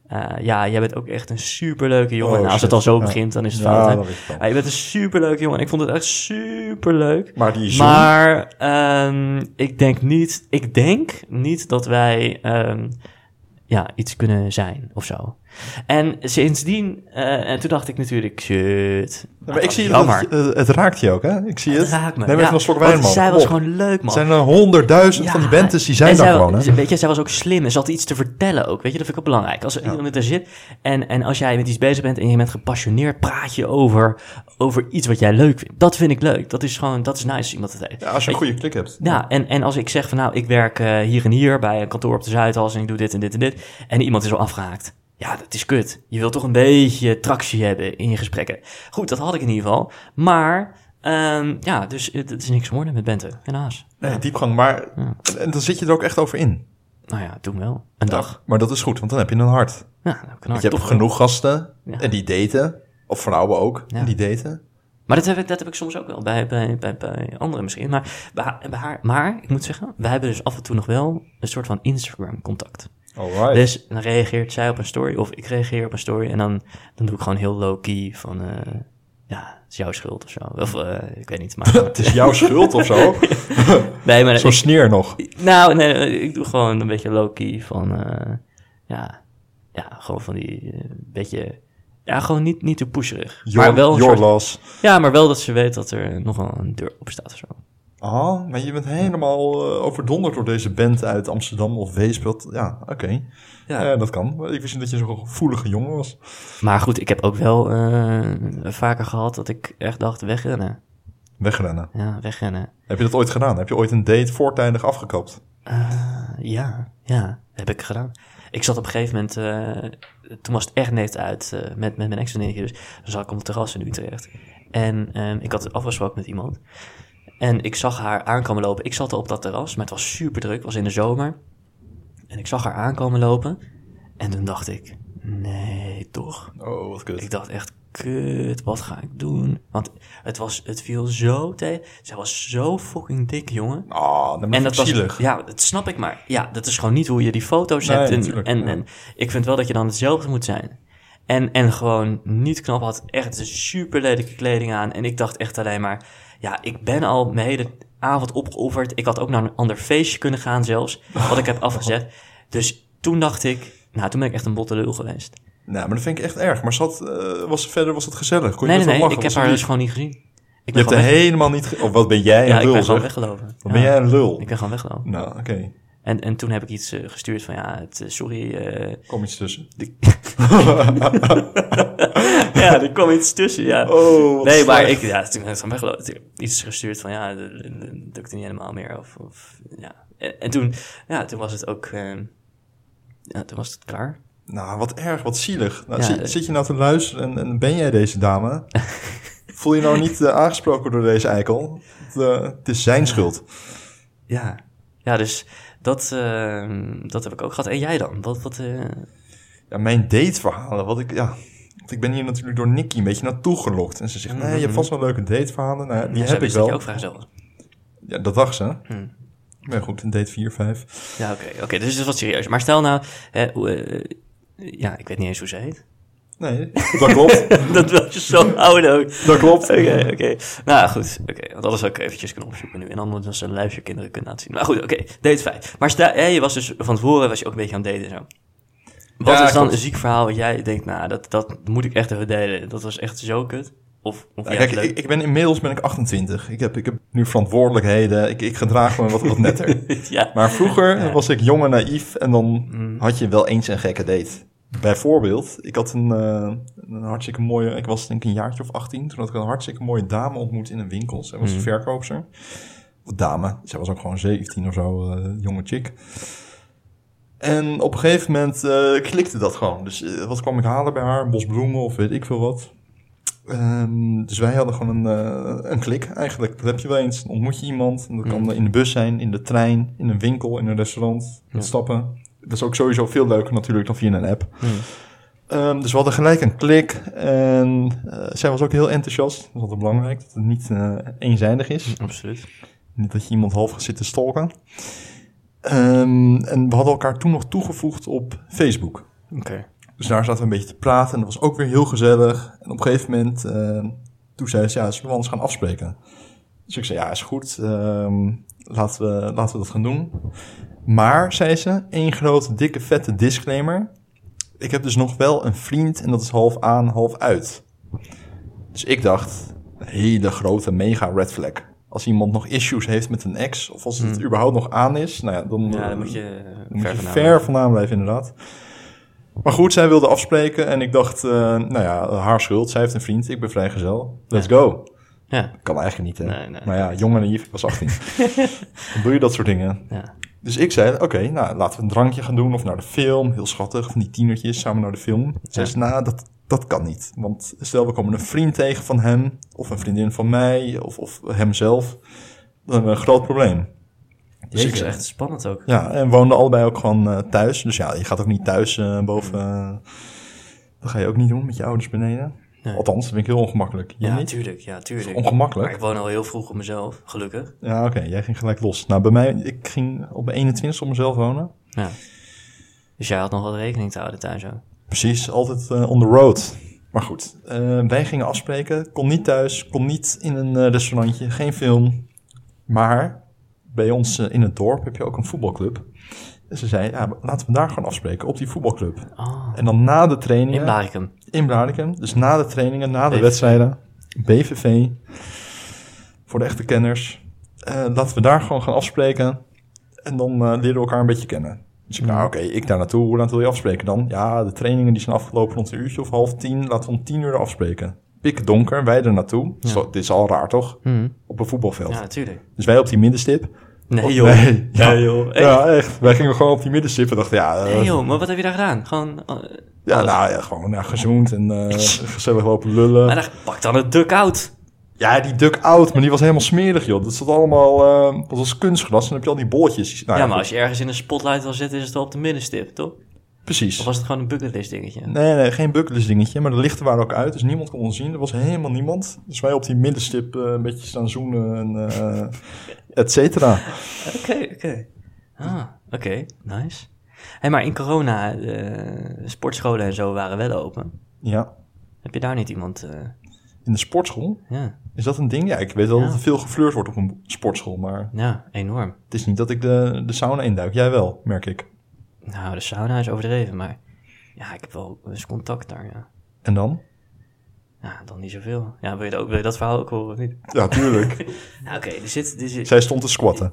S1: eh, ja, jij bent ook echt een superleuke jongen.
S2: Oh,
S1: nou, als
S2: shit.
S1: het al zo
S2: Ja.
S1: begint, dan is het
S2: Ja,
S1: fout, hè?
S2: dat is het dan.
S1: Maar je bent een superleuke jongen. Ik vond het echt superleuk.
S2: Maar die zoen,
S1: Maar ehm, ik denk niet, ik denk niet dat wij ehm, ja, iets kunnen zijn of zo. En sindsdien, eh, en toen dacht ik natuurlijk, shit.
S2: Ja, maar ik zie dat,
S1: Ah, jammer.
S2: het, eh, het raakt je ook, hè? Ik zie het.
S1: Het raakt me.
S2: Neem even
S1: ja,
S2: een slok
S1: want
S2: wijn, man.
S1: Zij was
S2: Oh,
S1: gewoon leuk, man.
S2: er zijn er honderdduizend van die
S1: Ja,
S2: bentes die zijn
S1: en
S2: daar
S1: zij wa-
S2: gewoon, hè?
S1: Weet je, zij was ook slim en ze had iets te vertellen ook. Weet je, dat vind ik ook belangrijk. Als er iemand er zit en, en als jij met iets bezig bent en je bent gepassioneerd, praat je over, over iets wat jij leuk vindt. Dat vind ik leuk. Dat is gewoon, dat is nice als iemand het heeft.
S2: Ja, als je een goede klik hebt.
S1: Ja, en, en als ik zeg van nou, ik werk eh, hier en hier bij een kantoor op de Zuidas en ik doe dit en dit en dit. En iemand is al afgehaakt. Ja, dat is kut. Je wilt toch een beetje tractie hebben in je gesprekken. Goed, dat had ik in ieder geval. Maar, ehm, ja, dus het, het is niks geworden met Bente, helaas.
S2: Nee, diepgang, maar... En dan zit je er ook echt over in.
S1: Nou ja, toen wel. Een dag.
S2: Maar dat is goed, want dan heb je een hart.
S1: Ja, nou, knap.
S2: Want je hebt
S1: Toch.
S2: genoeg gasten
S1: Ja.
S2: en die daten. Of vrouwen ook, en die daten.
S1: Maar dat heb, ik, dat heb ik soms ook wel bij, bij, bij, bij anderen misschien. Maar, bij, haar- bij haar, maar ik moet zeggen, we hebben dus af en toe nog wel een soort van Instagram-contact.
S2: Alright.
S1: Dus dan reageert zij op een story of ik reageer op een story. En dan, dan doe ik gewoon heel low-key van, eh, ja, het is jouw schuld of zo. Of eh, ik weet niet, maar...
S2: Het is jouw schuld of zo.
S1: nee, maar
S2: Zo'n sneer nog.
S1: ik- nou, nee, nee, ik doe gewoon een beetje low-key van, eh, ja, ja, gewoon van die eh, beetje... Ja, gewoon niet, niet te pusherig.
S2: Your,
S1: maar wel een
S2: your
S1: soort-
S2: loss.
S1: Ja, maar wel dat ze weet dat er nogal een deur op staat of zo.
S2: Ah, maar je bent helemaal eh, overdonderd door deze band uit Amsterdam of Weesbeeld. Ja, oké.
S1: Ja.
S2: Eh, dat kan. Maar Ik wist niet dat je zo'n gevoelige jongen was.
S1: Maar goed, ik heb ook wel eh, vaker gehad dat ik echt dacht wegrennen.
S2: Wegrennen.
S1: Ja, wegrennen.
S2: Heb je dat ooit gedaan? Heb je ooit een date voortijdig afgekapt?
S1: Ja, ja, dat heb ik gedaan. Ik zat op een gegeven moment, eh, toen was het echt net uit eh, met, met mijn ex-vriendinnetje. Dus dan zat ik op het terras in Utrecht. En ehm, ik had het afgesproken met iemand. En ik zag haar aankomen lopen. Ik zat al op dat terras, maar het was super druk, was in de zomer. En ik zag haar aankomen lopen. En toen dacht ik, nee, toch.
S2: Oh, wat kut.
S1: Ik dacht echt, kut, wat ga ik doen? Want het, was, het viel zo tegen. Zij was zo fucking dik, jongen.
S2: Ah, dan ben
S1: En
S2: ik
S1: dat was,
S2: zielig.
S1: ja, dat snap ik maar. Ja, dat is gewoon niet hoe je die foto's
S2: Nee,
S1: zet. en,
S2: natuurlijk,
S1: en,
S2: ja.
S1: en ik vind wel dat je dan hetzelfde moet zijn. En, en gewoon niet knap had echt een super lelijke kleding aan. En ik dacht echt alleen maar, ja, ik ben al mijn hele avond opgeofferd. Ik had ook naar een ander feestje kunnen gaan zelfs, wat ik heb afgezet. Dus toen dacht ik, nou, toen ben ik echt een botte lul geweest.
S2: Nou, maar dat vind ik echt erg. Maar zat, eh, was, verder was het gezellig. Kon je
S1: Nee, nee,
S2: best
S1: nee,
S2: wel
S1: ik heb
S2: lachen? Was
S1: haar
S2: het
S1: dus
S2: lief?
S1: gewoon niet gezien. Ik
S2: Je
S1: ben
S2: hebt er
S1: gewoon weg-
S2: helemaal niet... Ge... Of wat ben jij
S1: Ja,
S2: een
S1: ik
S2: lul,
S1: ben gewoon
S2: zeg.
S1: weggelopen.
S2: Wat
S1: Ja,
S2: ben jij een lul?
S1: Ik ben gewoon weggelopen.
S2: Nou, oké.
S1: En, en toen heb ik iets eh, gestuurd van, ja, het, eh, sorry, eh,
S2: Kom iets tussen.
S1: ja, er kwam iets tussen, ja.
S2: Oh,
S1: Nou,
S2: wat
S1: nee, maar
S2: slecht.
S1: ik, ja, toen heb ik gewoon weggelopen. Toen heb ik iets gestuurd van, ja, dat dat doe ik er niet helemaal meer. Of, of, ja. En, en toen, ja, toen was het ook, eh, ja, toen was het klaar.
S2: Nou, wat erg, wat zielig. Nou,
S1: Ja,
S2: zit,
S1: eh.
S2: zit je nou te luisteren en, en ben jij deze dame? Voel je nou niet eh, aangesproken door deze eikel? Het, eh, het is zijn schuld.
S1: Ja. Ja, dus dat, eh, dat heb ik ook gehad. En jij dan? Wat, wat, eh,
S2: Ja, mijn dateverhalen, wat ik... Ja, want ik ben hier natuurlijk door Nicky een beetje naartoe gelokt. En ze zegt, nee, je hebt vast wel leuke dateverhalen. Nou, ja, die
S1: Mhm. ja, zo
S2: heb ik
S1: wist
S2: wel.
S1: Dat je ook vrijgezel.
S2: Ja, dat dacht ze.
S1: Hm.
S2: Maar goed, een date 4, 5.
S1: Ja, oké. oké, dus het is wat serieus. Maar stel nou, hè, hoe, eh, ja, ik weet niet eens hoe ze heet.
S2: Nee, dat klopt.
S1: dat wil je zo houden ook.
S2: dat klopt.
S1: Oké, oké. Nou goed, oké. Want alles zou ik eventjes kunnen opzoeken nu. En dan moeten ze een lijstje kinderen kunnen laten zien. Maar goed, oké. Date 5. Maar sta, hè, je was dus van tevoren was je ook een beetje aan het daten en zo. Wat
S2: Ja,
S1: is dan
S2: klopt.
S1: een ziek verhaal wat jij denkt, nou, dat, dat moet ik echt even delen. Dat was echt zo kut. Of, of
S2: Nou,
S1: ja,
S2: kijk,
S1: leuk.
S2: ik, ik ben inmiddels ben ik 28. Ik heb, ik heb nu verantwoordelijkheden. Ik, ik gedraag me wat, wat netter.
S1: ja. Mm.
S2: Maar vroeger was ik jong en naïef en dan had je wel eens een gekke date. Bijvoorbeeld, ik had een, eh, een hartstikke mooie, ik was denk ik een jaartje of 18, toen had ik een hartstikke mooie dame ontmoet in een winkel. Zij was
S1: Mm.
S2: een verkoopster. Of dame, zij was ook gewoon 17 of zo, eh, jonge chick. En op een gegeven moment eh, klikte dat gewoon. Dus eh, wat kwam ik halen bij haar? Een bos bloemen of weet ik veel wat. Ehm, dus wij hadden gewoon een, eh, een klik eigenlijk. Dat heb je wel eens. Dan ontmoet je iemand. En dat kan in de bus zijn, in de trein, in een winkel, in een restaurant. Met stappen. Dat is ook sowieso veel leuker natuurlijk dan via een app.
S1: Hmm.
S2: Ehm, dus we hadden gelijk een klik. En eh, zij was ook heel enthousiast. Dat is altijd belangrijk. Dat het niet eh, eenzijdig is.
S1: Absoluut.
S2: Niet dat je iemand half gaat zitten stalken. Ehm, en we hadden elkaar toen nog toegevoegd op Facebook.
S1: Oké.
S2: Dus daar zaten we een beetje te praten en dat was ook weer heel gezellig. En op een gegeven moment, eh, toen zei ze, ja, zullen we anders gaan afspreken? Dus ik zei, ja, is goed, ehm, laten, we, laten we dat gaan doen. Maar, zei ze, één grote, dikke, vette disclaimer. Ik heb dus nog wel een vriend en dat is half aan, half uit. Dus ik dacht, een hele grote, mega red flag. Als iemand nog issues heeft met een ex, of als het überhaupt nog aan is, nou ja, dan...
S1: Hmm. Ja, dan moet je
S2: Dan
S1: ver
S2: moet je
S1: vandaan
S2: ver vandaan blijven, inderdaad. Maar goed, zij wilde afspreken en ik dacht, eh, nou ja, haar schuld. Zij heeft een vriend, ik ben vrijgezel. Let's go.
S1: Ja,
S2: Kan eigenlijk niet, hè?
S1: Nee, nee.
S2: Maar ja, jong en naïef, ik was 18. Dan doe je dat soort dingen.
S1: ja.
S2: Dus ik zei, oké, nou, laten we een drankje gaan doen of naar de film. Heel schattig, van die tienertjes, samen naar de film. Zij
S1: Ja.
S2: zei, nou, dat, dat kan niet. Want stel, we komen een vriend tegen van hem, of een vriendin van mij, of, of hemzelf. Dan hebben we een groot probleem. Dus
S1: Jezus,
S2: ik zei,
S1: echt spannend ook.
S2: ja, en woonden allebei ook gewoon eh, thuis. Dus ja, je gaat ook niet thuis eh, boven. eh, dat ga je ook niet doen met je ouders beneden.
S1: Nee.
S2: Althans, dat vind ik heel ongemakkelijk. Jij
S1: Ja,
S2: niet?
S1: tuurlijk. Ja, tuurlijk. Maar
S2: Ongemakkelijk?
S1: ik woon al heel vroeg op mezelf, gelukkig.
S2: Ja, oké, jij ging gelijk los. Nou, bij mij, ik ging op mijn 21 op mezelf wonen.
S1: Ja. Dus jij had nog wel rekening te houden thuis ook.
S2: Precies, altijd eh, on the road. Maar goed, eh, wij gingen afspreken. Kon niet thuis, kon niet in een eh, restaurantje, geen film. Maar bij ons eh, in het dorp heb je ook een voetbalclub. En ze zei, ja, laten we daar gewoon afspreken, op die voetbalclub.
S1: Oh.
S2: En dan na de trainingen...
S1: In Blaricum.
S2: in Blarikum. Dus na de trainingen, na de
S1: BVV.
S2: wedstrijden. BVV. Voor de echte kenners. Eh, laten we daar gewoon gaan afspreken. En dan eh, leren we elkaar een beetje kennen. Dus ik,
S1: Mm.
S2: nou oké, ik daar naartoe. Hoe laat wil je afspreken dan? Ja, de trainingen die zijn afgelopen rond een uurtje of half tien. Laten we om tien uur afspreken. Pik donker, wij er naartoe. Zo, dit is al raar toch? Op een voetbalveld.
S1: Ja, natuurlijk.
S2: Dus wij op die middenstip.
S1: Nee,
S2: Of-
S1: joh.
S2: Nee, ja,
S1: Nee, joh. Echt?
S2: ja, echt. Wij gingen gewoon op die middenstip en dachten, ja, eh,
S1: Nee, joh, maar wat heb je daar gedaan? Gewoon. eh,
S2: ja, nou, ja gewoon ja, gezoend en eh, gezellig lopen lullen.
S1: maar daar, pak dan het duck out.
S2: Ja, die duck-out, maar die was helemaal smerig, joh. Dat zat allemaal, eh, dat was kunstgras. En dan heb je al die bolletjes. Nou,
S1: ja, maar
S2: goed,
S1: als je ergens in een spotlight wil zitten, is het wel op de middenstip, toch?
S2: Precies.
S1: Of was het gewoon een bucketlist dingetje?
S2: Nee, nee, geen bucklist dingetje. Maar de lichten waren ook uit, dus niemand kon ons zien. Er was helemaal niemand. Dus wij op die middenstip eh, een beetje staan zoenen en eh, et cetera.
S1: Oké, oké. Ah, oké. Nice. Hey, maar in corona, eh, sportscholen en zo waren wel open.
S2: Ja,
S1: Heb je daar niet iemand... eh,
S2: in de sportschool.
S1: ja,
S2: Is dat een ding? Ja, ik weet wel
S1: Ja.
S2: dat er veel geflirt wordt op een sportschool. Maar
S1: ja, enorm.
S2: het is niet dat ik de, de sauna induik. Jij wel, merk ik.
S1: Nou, de sauna is overdreven, maar... Ja, ik heb wel eens contact daar, ja.
S2: En dan?
S1: Ja, dan niet zoveel. Ja, wil je dat, ook, wil je dat verhaal ook horen of niet?
S2: Ja, tuurlijk.
S1: Nou, oké, er zit... Er zit
S2: Zij stond te squatten.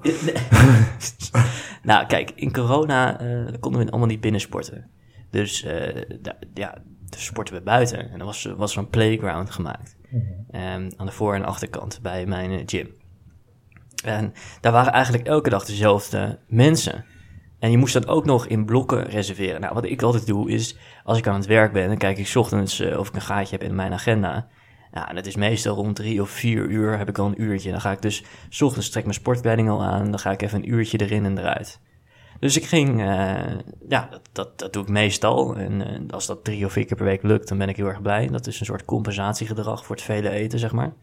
S1: nou, kijk, in corona eh, konden we allemaal niet binnen sporten. Dus eh, da- ja, dus sporten we buiten. En er was, was er een playground gemaakt. Ehm, aan de voor- en achterkant bij mijn eh, gym. En daar waren eigenlijk elke dag dezelfde mensen. En je moest dat ook nog in blokken reserveren. Nou, wat ik altijd doe is, als ik aan het werk ben, dan kijk ik 's ochtends eh, of ik een gaatje heb in mijn agenda. Nou, en dat is meestal rond drie of vier uur heb ik al een uurtje. Dan ga ik dus, 's ochtends trek ik mijn sportkleding al aan, dan ga ik even een uurtje erin en eruit. Dus ik ging, eh, ja, dat, dat, dat doe ik meestal. En eh, als dat drie of vier keer per week lukt, dan ben ik heel erg blij. Dat is een soort compensatiegedrag voor het vele eten, zeg maar.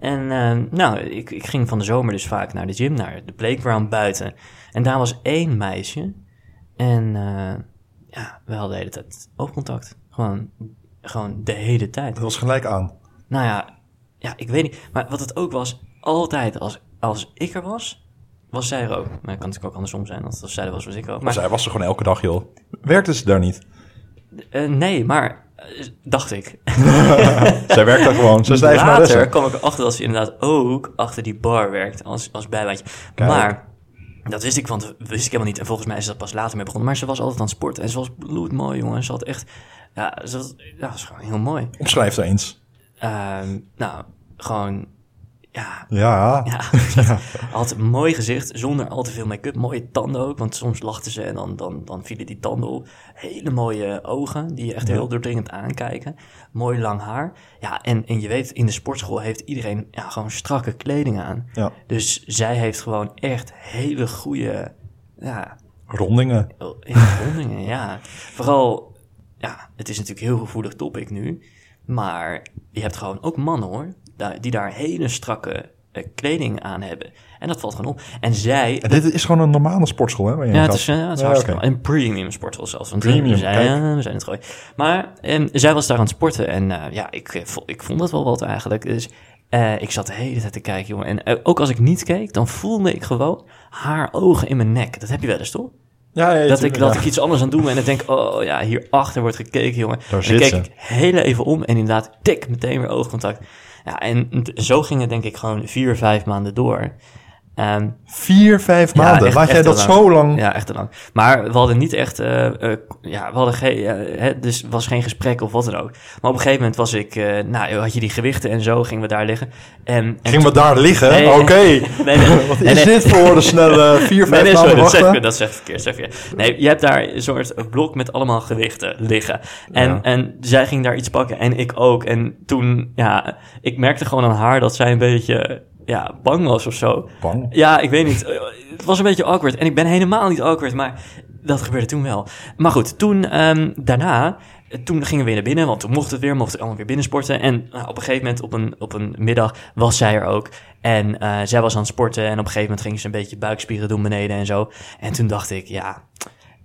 S1: En eh, nou, ik, ik ging van de zomer dus vaak naar de gym, naar de playground buiten. En daar was één meisje. En eh, ja, we hadden de hele tijd oogcontact. Gewoon, gewoon de hele tijd.
S2: Dat was gelijk aan.
S1: Nou ja, ja, ik weet niet. Maar wat het ook was, altijd als, als ik er was, was zij er ook. Maar het kan natuurlijk ook andersom zijn, want als zij er was, was ik er ook. Maar,
S2: Zij was er gewoon elke dag, joh. Werkte ze daar niet?
S1: eh, nee, maar eh, dacht ik.
S2: Zij werkte daar gewoon. Ze is de
S1: Later
S2: eigenaresse.
S1: kwam ik erachter dat ze inderdaad ook achter die bar werkt als, als bijbaantje.
S2: Kijk.
S1: Maar dat wist ik, want wist ik helemaal niet. En volgens mij is dat pas later mee begonnen. Maar ze was altijd aan het sporten en ze was bloedmooi, jongen. Ze had echt, ja, ze was, ja, was gewoon heel mooi.
S2: Omschrijf het eens.
S1: Ehm, nou, gewoon, ja,
S2: Ja.
S1: Ja, had een mooi gezicht, zonder al te veel make-up. Mooie tanden ook, want soms lachten ze en dan, dan, dan vielen die tanden op. Hele mooie eh, ogen, die je echt heel doordringend aankijken. Mooi lang haar. Ja, en, en je weet, in de sportschool heeft iedereen ja, gewoon strakke kleding aan.
S2: Ja.
S1: Dus zij heeft gewoon echt hele goede ja,
S2: Rondingen.
S1: Oh, in rondingen, ja. Vooral, ja, het is natuurlijk een heel gevoelig topic nu. Maar je hebt gewoon ook mannen hoor, da- die daar hele strakke eh, kleding aan hebben. En dat valt gewoon op. En zij...
S2: En dit is gewoon een normale sportschool, hè? waar je
S1: Ja,
S2: heen
S1: het
S2: gaat?
S1: is, eh, het is
S2: Ja,
S1: hartstikke
S2: oké.
S1: mooi. Een premium sportschool zelfs. Want
S2: Premium,
S1: we zijn,
S2: kijk.
S1: ja, we zijn het gooi. Maar ehm, zij was daar aan het sporten en eh, ja, ik, eh, vo- ik vond dat wel wat eigenlijk. Dus eh, ik zat de hele tijd te kijken, jongen. En eh, ook als ik niet keek, dan voelde ik gewoon haar ogen in mijn nek. Dat heb je wel eens, toch?
S2: Ja, ja, ja,
S1: dat ik,
S2: tuurlijk,
S1: dat
S2: ja.
S1: ik iets anders aan doe en dan denk ik, oh ja, hierachter wordt gekeken, jongen.
S2: Daar
S1: en dan
S2: zit
S1: keek
S2: ze.
S1: ik heel even om en inderdaad, tik, meteen weer oogcontact. Ja, en t- zo ging het denk ik gewoon vier, vijf maanden door. Ehm,
S2: Vier, vijf
S1: Ja,
S2: maanden.
S1: echt-
S2: Laat jij
S1: echt
S2: dat
S1: heel
S2: zo lang...
S1: ja, echt te lang. Maar we hadden niet echt, eh, eh, ja, we hadden geen, eh, hè, dus was geen gesprek of wat dan ook. Maar op een gegeven moment was ik, eh, nou, had je die gewichten en zo, gingen we daar liggen. En, en
S2: Ging we daar liggen?
S1: Nee,
S2: Oké.
S1: Nee, nee.
S2: Wat
S1: Nee,
S2: is
S1: nee.
S2: dit voor de snelle vier,
S1: Nee,
S2: vijf
S1: nee, sorry,
S2: maanden
S1: dat zeg, ik,
S2: wachten?
S1: dat zeg ik verkeerd. Zeg ik verkeerd. Nee, je hebt daar een soort blok met allemaal gewichten liggen. En,
S2: Ja.
S1: en zij ging daar iets pakken en ik ook. En toen, ja, ik merkte gewoon aan haar dat zij een beetje ja, bang was of zo.
S2: Bang.
S1: Ja, ik weet niet. Eh, Het was een beetje awkward. En ik ben helemaal niet awkward, maar dat gebeurde toen wel. Maar goed, toen ehm, daarna, eh, toen gingen we weer naar binnen, want toen mocht het weer, mocht ik allemaal weer binnen sporten. En nou, op een gegeven moment, op een, op een middag, was zij er ook. En eh, zij was aan het sporten en op een gegeven moment ging ze een beetje buikspieren doen beneden en zo. En toen dacht ik, ja,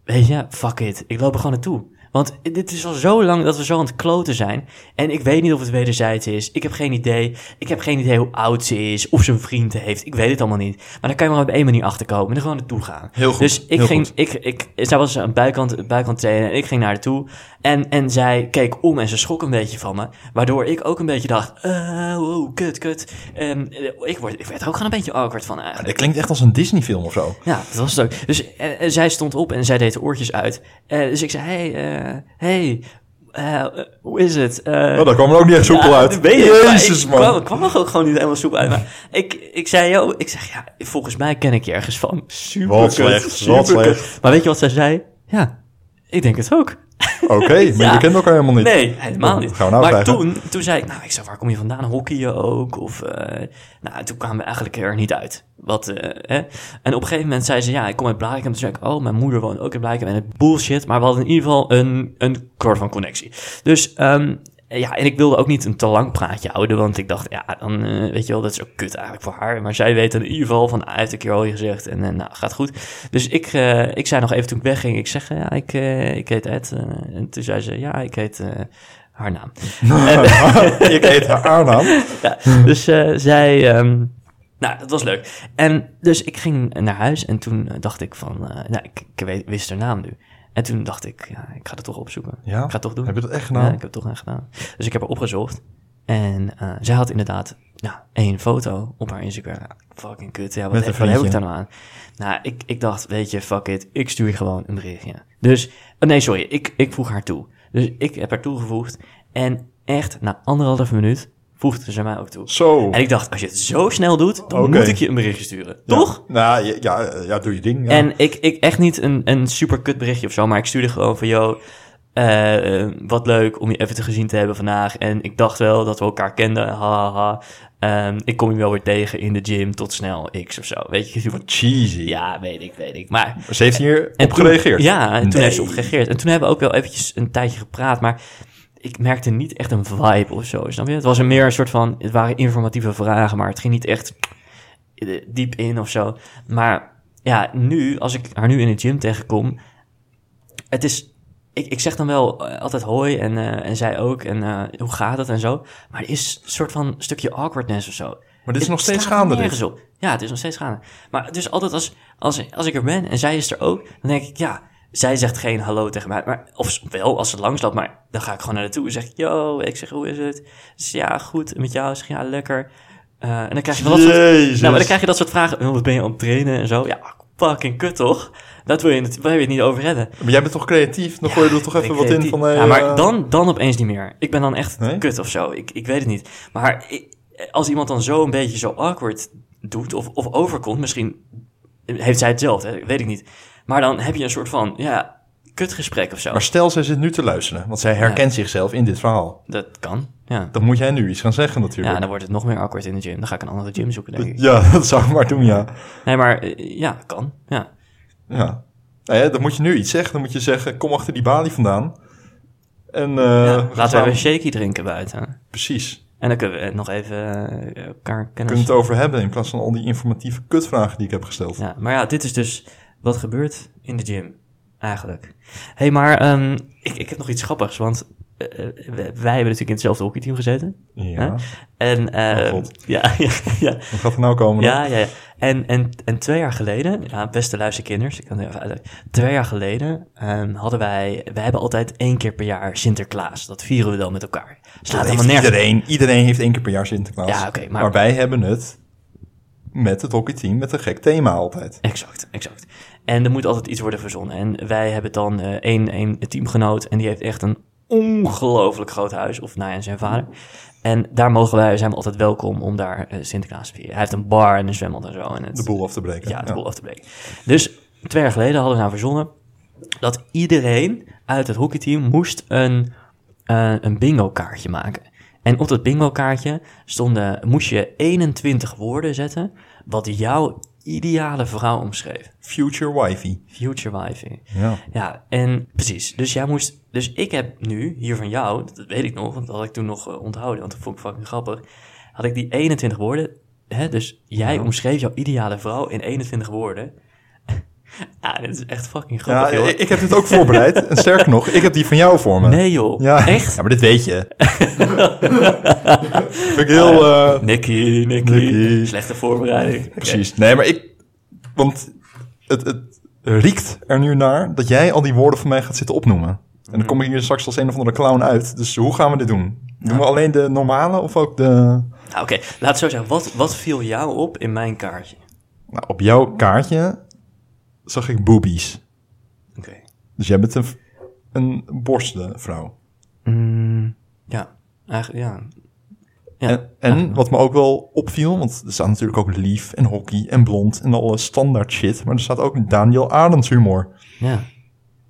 S1: weet je, fuck it, ik loop er gewoon naartoe. Want dit is al zo lang dat we zo aan het kloten zijn. En ik weet niet of het wederzijds is. Ik heb geen idee. Ik heb geen idee hoe oud ze is. Of ze een vriend heeft. Ik weet het allemaal niet. Maar daar kan je maar op één manier achterkomen. En er gewoon naartoe gaan.
S2: Heel goed,
S1: Dus ik
S2: heel
S1: ging.
S2: goed.
S1: Ik, ik, zij was aan de buitenkant, buitenkant trainen. En ik ging naar haar toe. En, en zij keek om en ze schrok een beetje van me. Waardoor ik ook een beetje dacht. eh wow, kut, kut. Ehm, ik, word, ik werd er ook gewoon een beetje awkward van eigenlijk.
S2: Dat klinkt echt als een Disney-film of zo.
S1: Ja, dat was het ook. Dus eh, eh, zij stond op en zij deed de oortjes uit. Eh, dus ik zei, hey, eh, hey, eh, hoe is het? Eh,
S2: Nou, daar kwam er ook niet echt soepel
S1: ja,
S2: uit.
S1: dat weet ik, maar
S2: Jezus,
S1: ik
S2: man.
S1: kwam, kwam er ook gewoon niet helemaal soepel uit. Maar ik, ik zei, yo, ik zeg, ja, volgens mij ken ik je ergens van. Super
S2: Wat slecht, wat slecht.
S1: Maar weet je wat zij zei? Ja, ik denk het ook.
S2: Oké, maar
S1: Ja.
S2: je kent elkaar helemaal niet.
S1: Nee, helemaal niet.
S2: Gaan we nou
S1: maar
S2: vragen.
S1: toen, toen zei ik, nou, ik zei, waar kom je vandaan? Hockey je ook? Of, eh, nou, toen kwamen we eigenlijk er niet uit. Wat, eh, hè? En op een gegeven moment zei ze, ja, ik kom uit Blarikum. Toen zei ik, oh, mijn moeder woont ook in Blarikum. En het bullshit, maar we hadden in ieder geval een, een soort van connectie. Dus, ehm, ja, en ik wilde ook niet een te lang praatje houden, want ik dacht, ja, dan eh, weet je wel, dat is ook kut eigenlijk voor haar. Maar zij weet in ieder geval van, ah, heeft een keer al je gezegd en eh, nou, gaat goed. Dus ik, eh, ik zei nog even toen ik wegging, ik zeg, eh, ja, ik, eh, ik heet Ed. eh, en toen zei ze, ja, ik heet eh, haar naam.
S2: ik eet haar aannam.
S1: Ja, dus eh, zij, ehm, nou, dat was leuk. En dus ik ging naar huis en toen eh, dacht ik van, eh, nou, ik, ik weet- wist haar naam nu. En toen dacht ik, ja, ik ga het toch opzoeken.
S2: Ja?
S1: Ik ga het toch doen.
S2: Heb je dat echt
S1: Ja,
S2: gedaan?
S1: ik heb het toch aan gedaan. Dus ik heb haar opgezocht. En eh, zij had inderdaad nou, één foto op haar Instagram. Ja, fucking kut. Ja, wat,
S2: Met een
S1: heb, wat heb ik
S2: vriendje.
S1: daar nou aan? Nou, ik, ik dacht, weet je, fuck it. Ik stuur je gewoon een berichtje. Dus, oh, nee, sorry. Ik, ik vroeg haar toe. Dus ik heb haar toegevoegd. En echt, na anderhalve minuut voegde ze mij ook toe.
S2: Zo.
S1: En ik dacht, als je het zo snel doet, dan
S2: Oké.
S1: moet ik je een berichtje sturen.
S2: Ja.
S1: Toch?
S2: Nou, ja, ja, ja, doe je ding. Ja.
S1: En ik, ik echt niet een, een super kut berichtje of zo, maar ik stuurde gewoon van, yo, eh, eh, wat leuk om je even te gezien te hebben vandaag. En ik dacht wel dat we elkaar kenden, haha. Ehm, ik kom je wel weer tegen in de gym, tot snel, x of zo. Weet je, wat
S2: Cheesy.
S1: ja, weet ik, weet ik. Maar
S2: Ze heeft hier
S1: en
S2: op gereageerd.
S1: Toen, ja, en toen
S2: Nee.
S1: heeft ze op gereageerd. En toen hebben we ook wel eventjes een tijdje gepraat, maar ik merkte niet echt een vibe of zo, snap je? Het was een meer een soort van, het waren informatieve vragen, maar het ging niet echt eh, diep in of zo. Maar ja, nu, als ik haar nu in de gym tegenkom, het is... Ik, ik zeg dan wel eh, altijd hoi en, eh, en zij ook en eh, hoe gaat het en zo. Maar er is een soort van stukje awkwardness of zo.
S2: Maar dit is
S1: Het
S2: nog steeds
S1: slaat
S2: gaande.
S1: nergens
S2: dit.
S1: op. Ja, het is nog steeds gaande. Maar dus altijd als, als, als ik er ben en zij is er ook, dan denk ik, ja, zij zegt geen hallo tegen mij. Maar, of wel, als ze langs loopt, maar dan ga ik gewoon naar naartoe en zeg ik, yo, ik zeg, hoe is het? Ze zegt, ja, goed, en met jou? Zeg ja, lekker. Eh, en dan krijg je van dat soort...
S2: Jezus.
S1: Nou, maar dan krijg je dat soort vragen. "Oh, Wat ben je aan het trainen en zo? Ja, fucking kut toch? Dat wil je, nat- waar wil je het niet over hebben.
S2: Maar jij bent toch creatief? Dan gooi je er toch even
S1: Ik
S2: wat
S1: weet
S2: in
S1: niet.
S2: van... hey,
S1: ja, maar
S2: eh,
S1: dan, dan opeens niet meer. Ik ben dan echt
S2: Nee?
S1: kut of zo. Ik, ik weet het niet. Maar ik- als iemand dan zo een beetje zo awkward doet of, of overkomt, misschien heeft zij het zelf, hè, weet ik niet. Maar dan heb je een soort van, ja, kutgesprek of zo.
S2: Maar stel, zij zit nu te luisteren. Want zij herkent zichzelf in dit verhaal.
S1: Dat kan, ja.
S2: Dan moet jij nu iets gaan zeggen natuurlijk.
S1: Ja, nou- dan wordt het nog meer awkward in de gym. Dan ga ik een andere gym zoeken, denk ik.
S2: Ja, dat zou ik maar doen, ja.
S1: Nee, maar eh, ja, kan, ja.
S2: ja. Nou ja, dan moet je nu iets zeggen. Dan moet je zeggen, kom achter die balie vandaan. En eh,
S1: Ja,
S2: we gaan
S1: Laten we
S2: samen-
S1: even een shaky drinken buiten.
S2: Precies.
S1: En dan kunnen we eh, nog even eh, elkaar
S2: Je
S1: kennen.
S2: kunt het over hebben in plaats van al die informatieve kutvragen die ik heb gesteld.
S1: Ja, maar ja, dit is dus wat gebeurt in de gym, eigenlijk. Hé, hey, maar ehm, ik, ik heb nog iets grappigs, want eh, eh, wij hebben natuurlijk in hetzelfde hockeyteam gezeten.
S2: Ja.
S1: Hè? En, eh,
S2: Oh, God.
S1: ja, ja, ja,
S2: Wat gaat er nou komen? dan?
S1: ja, ja, ja. En, en, en twee jaar geleden, ja, beste luisterkinders, ik kan het even uitleggen. Twee jaar geleden ehm, hadden wij, wij hebben altijd één keer per jaar Sinterklaas. Dat vieren we dan met elkaar. Slaat
S2: Dat
S1: helemaal
S2: heeft
S1: nergens.
S2: iedereen, iedereen heeft één keer per jaar Sinterklaas.
S1: Ja, oké, maar-
S2: wij hebben het met het hockeyteam met een gek thema altijd.
S1: Exact, exact. En er moet altijd iets worden verzonnen. En wij hebben dan eh, één, één teamgenoot en die heeft echt een ongelooflijk groot huis. Of nou ja, zijn vader. En daar mogen wij, zijn we altijd welkom om daar eh, Sinterklaas te vieren. Hij heeft een bar en een zwembad en zo. En het,
S2: De boel af te breken.
S1: ja, de boel af te breken. Dus twee jaar geleden hadden we nou verzonnen dat iedereen uit het hockeyteam moest een, eh, een bingo kaartje maken. En op dat bingo kaartje stonden, moest je 21 woorden zetten wat jouw ideale vrouw omschreef.
S2: Future wifey.
S1: Future wifey.
S2: Ja.
S1: Ja, en precies. Dus jij moest. Dus ik heb nu hier van jou, dat weet ik nog, want dat had ik toen nog eh, onthouden, want dat vond ik fucking grappig. Had ik die 21 woorden. Hè, dus jij omschreef jouw ideale vrouw in 21 woorden. ja, dit is echt fucking
S2: Ja,
S1: grappig, joh.
S2: ik, ik heb dit ook voorbereid. En sterker nog, ik heb die van jou voor me.
S1: Nee, joh.
S2: Ja.
S1: Echt?
S2: Ja, maar dit weet je. Vind ik heel... eh,
S1: Nicky, Nicky.
S2: Nicky.
S1: Slechte voorbereiding.
S2: Precies. Nee, maar ik... Want het, het riekt er nu naar dat jij al die woorden van mij gaat zitten opnoemen. En dan kom ik hier straks als een of andere clown uit. Dus hoe gaan we dit doen? Doen we alleen de normale of ook de...
S1: Nou, Oké, laat het zo zijn. Wat, wat viel jou op in mijn kaartje?
S2: Nou, op jouw kaartje zag ik boobies.
S1: Oké.
S2: Dus jij bent een, v- een borstenvrouw.
S1: Mm, ja, eigenlijk, ja. Ja.
S2: En, en wat me ook wel opviel, want er staat natuurlijk ook lief en hockey en blond en alle standaard shit. Maar er staat ook Daniel Adams humor.
S1: Ja.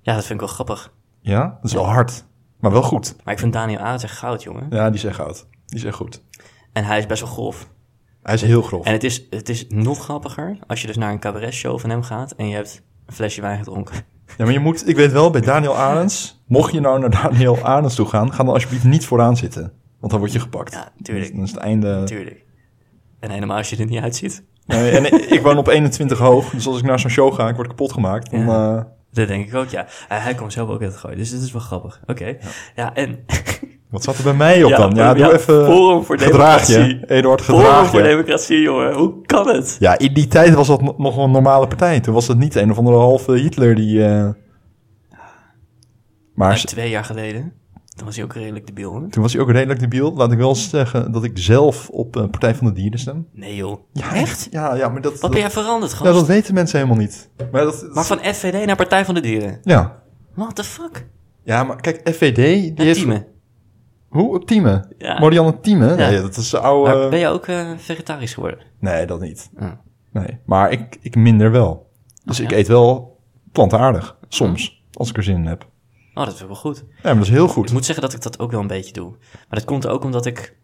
S1: ja, dat vind ik wel grappig.
S2: Ja, dat is wel hard. Maar wel goed.
S1: Maar ik vind Daniel Arendt echt goud, jongen.
S2: Ja, die is echt oud. Die is echt goed.
S1: En hij is best wel grof.
S2: Hij is heel grof.
S1: En het is, het is nog grappiger als je dus naar een cabaretshow van hem gaat en je hebt een flesje wijn gedronken.
S2: Ja, maar je moet, ik weet wel, bij Daniel Arends, mocht je nou naar Daniel Arends toe gaan, ga dan alsjeblieft niet vooraan zitten. Want dan word je gepakt.
S1: Ja, tuurlijk.
S2: Dan is het einde.
S1: Tuurlijk. En helemaal als je er niet uitziet.
S2: Nee, en ik woon op 21 hoog, dus als ik naar zo'n show ga, ik word kapot gemaakt. Dan,
S1: Ja.
S2: eh,
S1: Dat denk ik ook, ja. Hij, hij komt zelf ook uit het gooien, dus dit is wel grappig. Oké. Ja. en...
S2: wat zat er bij mij op
S1: Ja,
S2: dan? Ja, doe
S1: ja,
S2: even.
S1: Forum voor
S2: gedraag je,
S1: Democratie.
S2: Eduard,
S1: Forum
S2: gedraag
S1: voor
S2: je.
S1: Democratie, jongen. Hoe kan het?
S2: Ja, in die tijd was dat no- nog een normale partij. Toen was dat niet een of andere halve Hitler die. eh, Maar
S1: Nou, twee jaar geleden, dan was hij ook redelijk debiel, hè?
S2: Toen was hij ook redelijk debiel. Laat ik wel zeggen dat ik zelf op eh, Partij van de Dieren stem.
S1: Nee, joh.
S2: Ja,
S1: Echt?
S2: Ja, ja maar dat,
S1: Wat
S2: dat,
S1: ben jij veranderd, gast?
S2: ja, dat weten mensen helemaal niet. Maar, dat, dat-
S1: Maar van FVD naar Partij van de Dieren.
S2: ja.
S1: What the fuck?
S2: ja, maar kijk, FVD... Die
S1: Ja,
S2: heeft-
S1: Tieme.
S2: Hoe? Op Tieme?
S1: Ja.
S2: Marianne Tieme?
S1: Ja.
S2: Nee, dat is de oude...
S1: Maar ben je ook eh, vegetarisch geworden?
S2: Nee, dat niet.
S1: Ja. Oh,
S2: Nee, maar ik, ik minder wel. Dus
S1: ja?
S2: ik eet wel plantaardig. Soms. Als ik er zin in heb.
S1: Oh, dat is wel goed.
S2: Ja, maar dat is heel goed.
S1: Ik moet zeggen dat ik dat ook wel een beetje doe. Maar dat komt ook omdat ik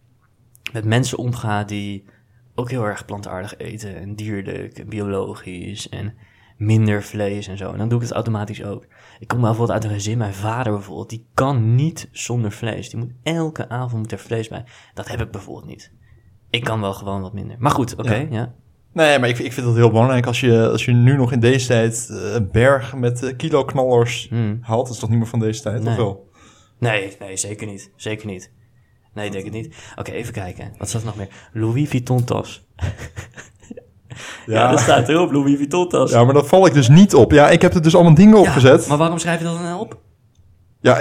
S1: met mensen omga die ook heel erg plantaardig eten. En dierlijk, en biologisch en minder vlees en zo. En dan doe ik het automatisch ook. Ik kom bijvoorbeeld uit een gezin, mijn vader bijvoorbeeld, die kan niet zonder vlees. Die moet elke avond moet er vlees bij. Dat heb ik bijvoorbeeld niet. Ik kan wel gewoon wat minder. Maar goed, oké,
S2: Ja.
S1: ja.
S2: Nee, maar ik, ik vind dat heel belangrijk. Als je, als je nu nog in deze tijd eh, een berg met eh, kiloknallers
S1: Hmm.
S2: haalt... dat is toch niet meer van deze tijd,
S1: Nee.
S2: of wel?
S1: Nee, nee, zeker niet. Zeker niet. Nee, ik denk het niet. Oké, even kijken. Wat staat er nog meer? Louis Vuitton tas. Ja, dat staat erop, Louis Vuitton tas.
S2: Ja, maar dat val ik dus niet op. Ja, ik heb er dus allemaal dingen
S1: Ja,
S2: opgezet. Ja,
S1: Maar waarom schrijf je dat dan nou op?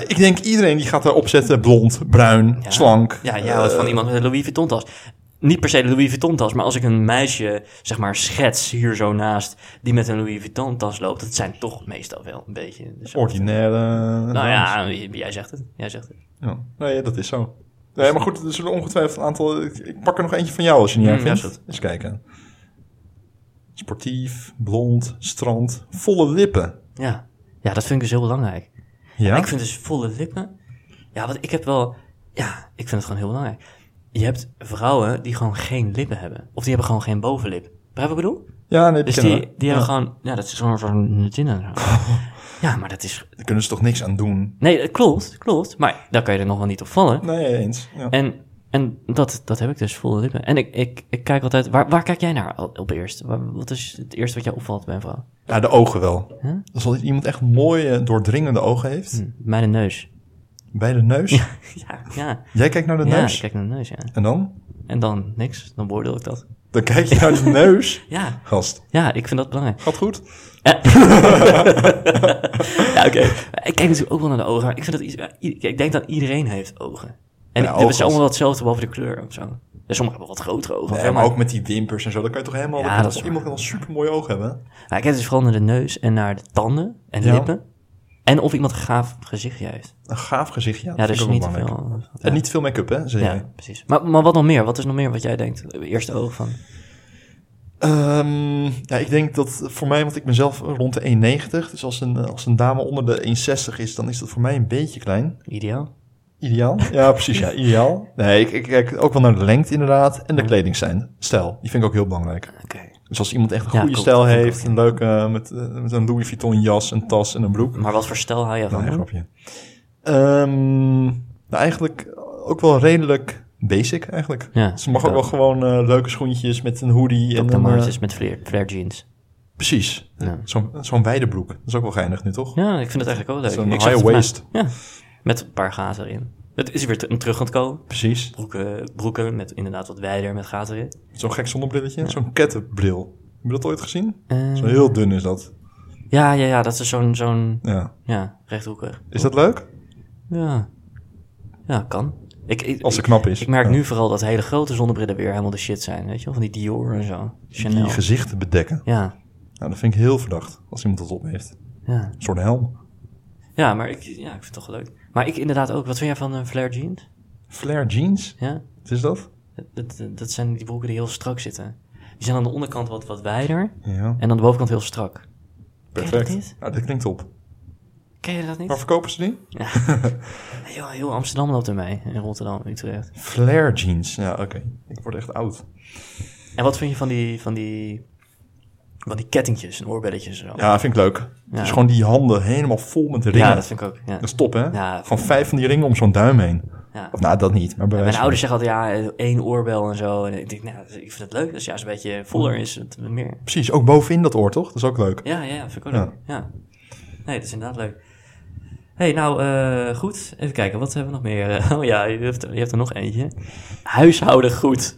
S2: ik denk iedereen die gaat daarop zetten. Blond, bruin,
S1: Ja.
S2: slank.
S1: Ja, jij houdt
S2: eh,
S1: van iemand met een Louis Vuitton tas. Niet per se de Louis Vuitton tas, maar als ik een meisje, zeg maar, schets hier zo naast, die met een Louis Vuitton tas loopt, dat zijn toch meestal wel een beetje. Dus
S2: eh, Ordinaire. eh,
S1: nou ja, j- jij zegt het. Jij zegt het.
S2: Ja. Nee, ja, dat is zo. Nee, maar goed, er zullen ongetwijfeld een aantal... Ik, ik pak er nog eentje van jou als je niet
S1: Mm,
S2: erg vindt.
S1: ja, is goed.
S2: Eens kijken. Sportief, blond, strand, volle lippen.
S1: Ja. ja, dat vind ik dus heel belangrijk.
S2: Ja?
S1: Ik vind dus volle lippen. Ja, want ik heb wel. Ja, ik vind het gewoon heel belangrijk. Je hebt vrouwen die gewoon geen lippen hebben. Of die hebben gewoon geen bovenlip. Begrijp je wat ik bedoel?
S2: ja, nee,
S1: Dus
S2: kennen
S1: die,
S2: we.
S1: die
S2: ja.
S1: hebben gewoon. Ja, dat is gewoon zo'n. Ja, maar dat is
S2: Daar kunnen ze toch niks aan doen?
S1: Nee, dat klopt, dat klopt. Maar daar kan je er nog wel niet op vallen.
S2: Nee, eens. Ja.
S1: En, en dat, dat heb ik dus volle lippen. En ik, ik, ik kijk altijd... Waar, waar kijk jij naar al- op eerst? Waar- Wat is het eerste wat jou opvalt bij een vrouw?
S2: Ja, de ogen wel.
S1: Huh?
S2: Als iemand echt mooie, doordringende ogen heeft,
S1: Hm, Bij de neus.
S2: bij de neus.
S1: Hm. Ja, ja.
S2: Jij kijkt naar de
S1: ja
S2: neus.
S1: ik kijk naar de neus, ja.
S2: En dan?
S1: En dan niks, dan beoordeel ik dat.
S2: Dan kijk je naar de neus.
S1: Ja,
S2: Gast,
S1: ja, ik vind dat belangrijk.
S2: gaat goed?
S1: Ja, oké. Ik kijk natuurlijk ook wel naar de ogen. maar Ik, vind dat, iets- i- ik denk dat iedereen heeft ogen. En
S2: Ja,
S1: ik- het
S2: ogen.
S1: is allemaal wel hetzelfde, behalve de kleur of zo. Ja, sommigen hebben wat grotere ogen. of
S2: Nee,
S1: zo,
S2: maar ook met die wimpers en zo, dan kan je toch helemaal...
S1: Ja,
S2: dan kan
S1: dat
S2: toch-
S1: is
S2: iemand kan een supermooi oog hebben.
S1: Ja, ik kijk dus vooral naar de neus en naar de tanden en
S2: Ja.
S1: lippen. En of iemand een gaaf gezichtje heeft.
S2: Een gaaf gezichtje. Ja,
S1: Ja,
S2: dat is
S1: dus
S2: ook niet
S1: niet
S2: belangrijk.
S1: veel. Ja,
S2: En niet veel make-up, hè, zei
S1: ja,
S2: jij.
S1: precies. Maar, maar wat nog meer? Wat is nog meer wat jij denkt? Eerste oog van.
S2: Ehm, ja, ik denk dat voor mij, want ik ben zelf rond de 1,90. Dus als een, als een dame onder de 1,60 is, dan is dat voor mij een beetje klein.
S1: Ideaal.
S2: Ideaal? Ja, precies, ja, ideaal. Nee, ik, ik kijk ook wel naar de lengte inderdaad en de kledingstijl. Stijl, die vind ik ook heel belangrijk.
S1: Oké.
S2: Dus als iemand echt een
S1: Ja,
S2: goede
S1: klopt,
S2: stijl
S1: vind ik
S2: heeft,
S1: ook,
S2: een leuke, eh, met, eh, met een Louis Vuitton jas, een tas en een broek.
S1: Maar wat voor stijl hou jij van?
S2: Nee, grapje. Ehm, nou, eigenlijk ook wel redelijk basic eigenlijk.
S1: Ja,
S2: Ze mag ook wel gewoon eh, leuke schoentjes met een hoodie. en
S1: Op de
S2: een, eh,
S1: marges met flare, flare jeans.
S2: Precies.
S1: Ja.
S2: Zo'n zo'n wijde broek. Dat is ook wel geinig nu, toch?
S1: ja, ik vind het eigenlijk ook leuk.
S2: Zo'n
S1: Ik zag
S2: high
S1: het
S2: waist.
S1: vandaag. Ja, met een paar gaten erin. Het is weer te- een terug aan het komen.
S2: Precies.
S1: Broeken, broeken met inderdaad wat wijder met gaten erin.
S2: Zo'n gek zonnebrilletje. Zo'n kettenbril. Heb je dat ooit gezien?
S1: Eh,
S2: Zo heel dun is dat.
S1: ja, ja, ja, dat is zo'n, zo'n
S2: Ja.
S1: ja, rechthoekig.
S2: Is dat leuk?
S1: Ja. Ja, kan. Ik, ik,
S2: Als ze knap is.
S1: Ik merk
S2: Ja.
S1: nu vooral dat hele grote zonnebrillen weer helemaal de shit zijn, weet je wel? Van die Dior en zo. Chanel.
S2: Die gezichten bedekken.
S1: ja,
S2: Nou, dat vind ik heel verdacht. Als iemand dat op heeft.
S1: ja.
S2: Een soort helm.
S1: Ja, maar ik, ja, ik vind het toch wel leuk. Maar ik inderdaad ook. Wat vind jij van een flare jeans?
S2: Flare jeans.
S1: Ja?
S2: Wat is dat?
S1: Dat, dat, dat zijn die broeken die heel strak zitten. Die zijn aan de onderkant wat, wat wijder
S2: Ja.
S1: en aan de bovenkant heel strak. Ken je dat
S2: Perfect.
S1: niet?
S2: Nou, dat klinkt op.
S1: Ken Ken je dat niet?
S2: Waar verkopen ze die?
S1: Heel, heel Amsterdam loopt ermee. In Rotterdam, Utrecht.
S2: Flare jeans. Ja, oké. Ik word echt oud.
S1: En wat vind je van die, van die, van die kettingjes en oorbelletjes? en Zo?
S2: Ja, vind ik leuk. Dus gewoon die handen helemaal vol met ringen.
S1: Ja,
S2: dat,
S1: dat vind ik ook. Ja.
S2: is top, hè?
S1: Ja, dat
S2: gewoon vijf van die ringen om zo'n duim heen.
S1: Ja.
S2: Of nou, dat niet. Maar bij
S1: Mijn
S2: wijze van-
S1: ouders zeggen altijd, ja, één oorbel en zo. En ik denk, nou, ik vind het leuk. Als je juist een beetje voller is, het meer.
S2: Precies, ook bovenin dat oor, toch? Dat is ook leuk.
S1: Ja, ja, ja, vind ik ook
S2: Ja.
S1: leuk. Ja. Nee, dat is inderdaad leuk. hey, nou, eh, goed. Even kijken, wat hebben we nog meer? Eh, Oh ja, je hebt, je hebt er nog eentje. Huishouden goed.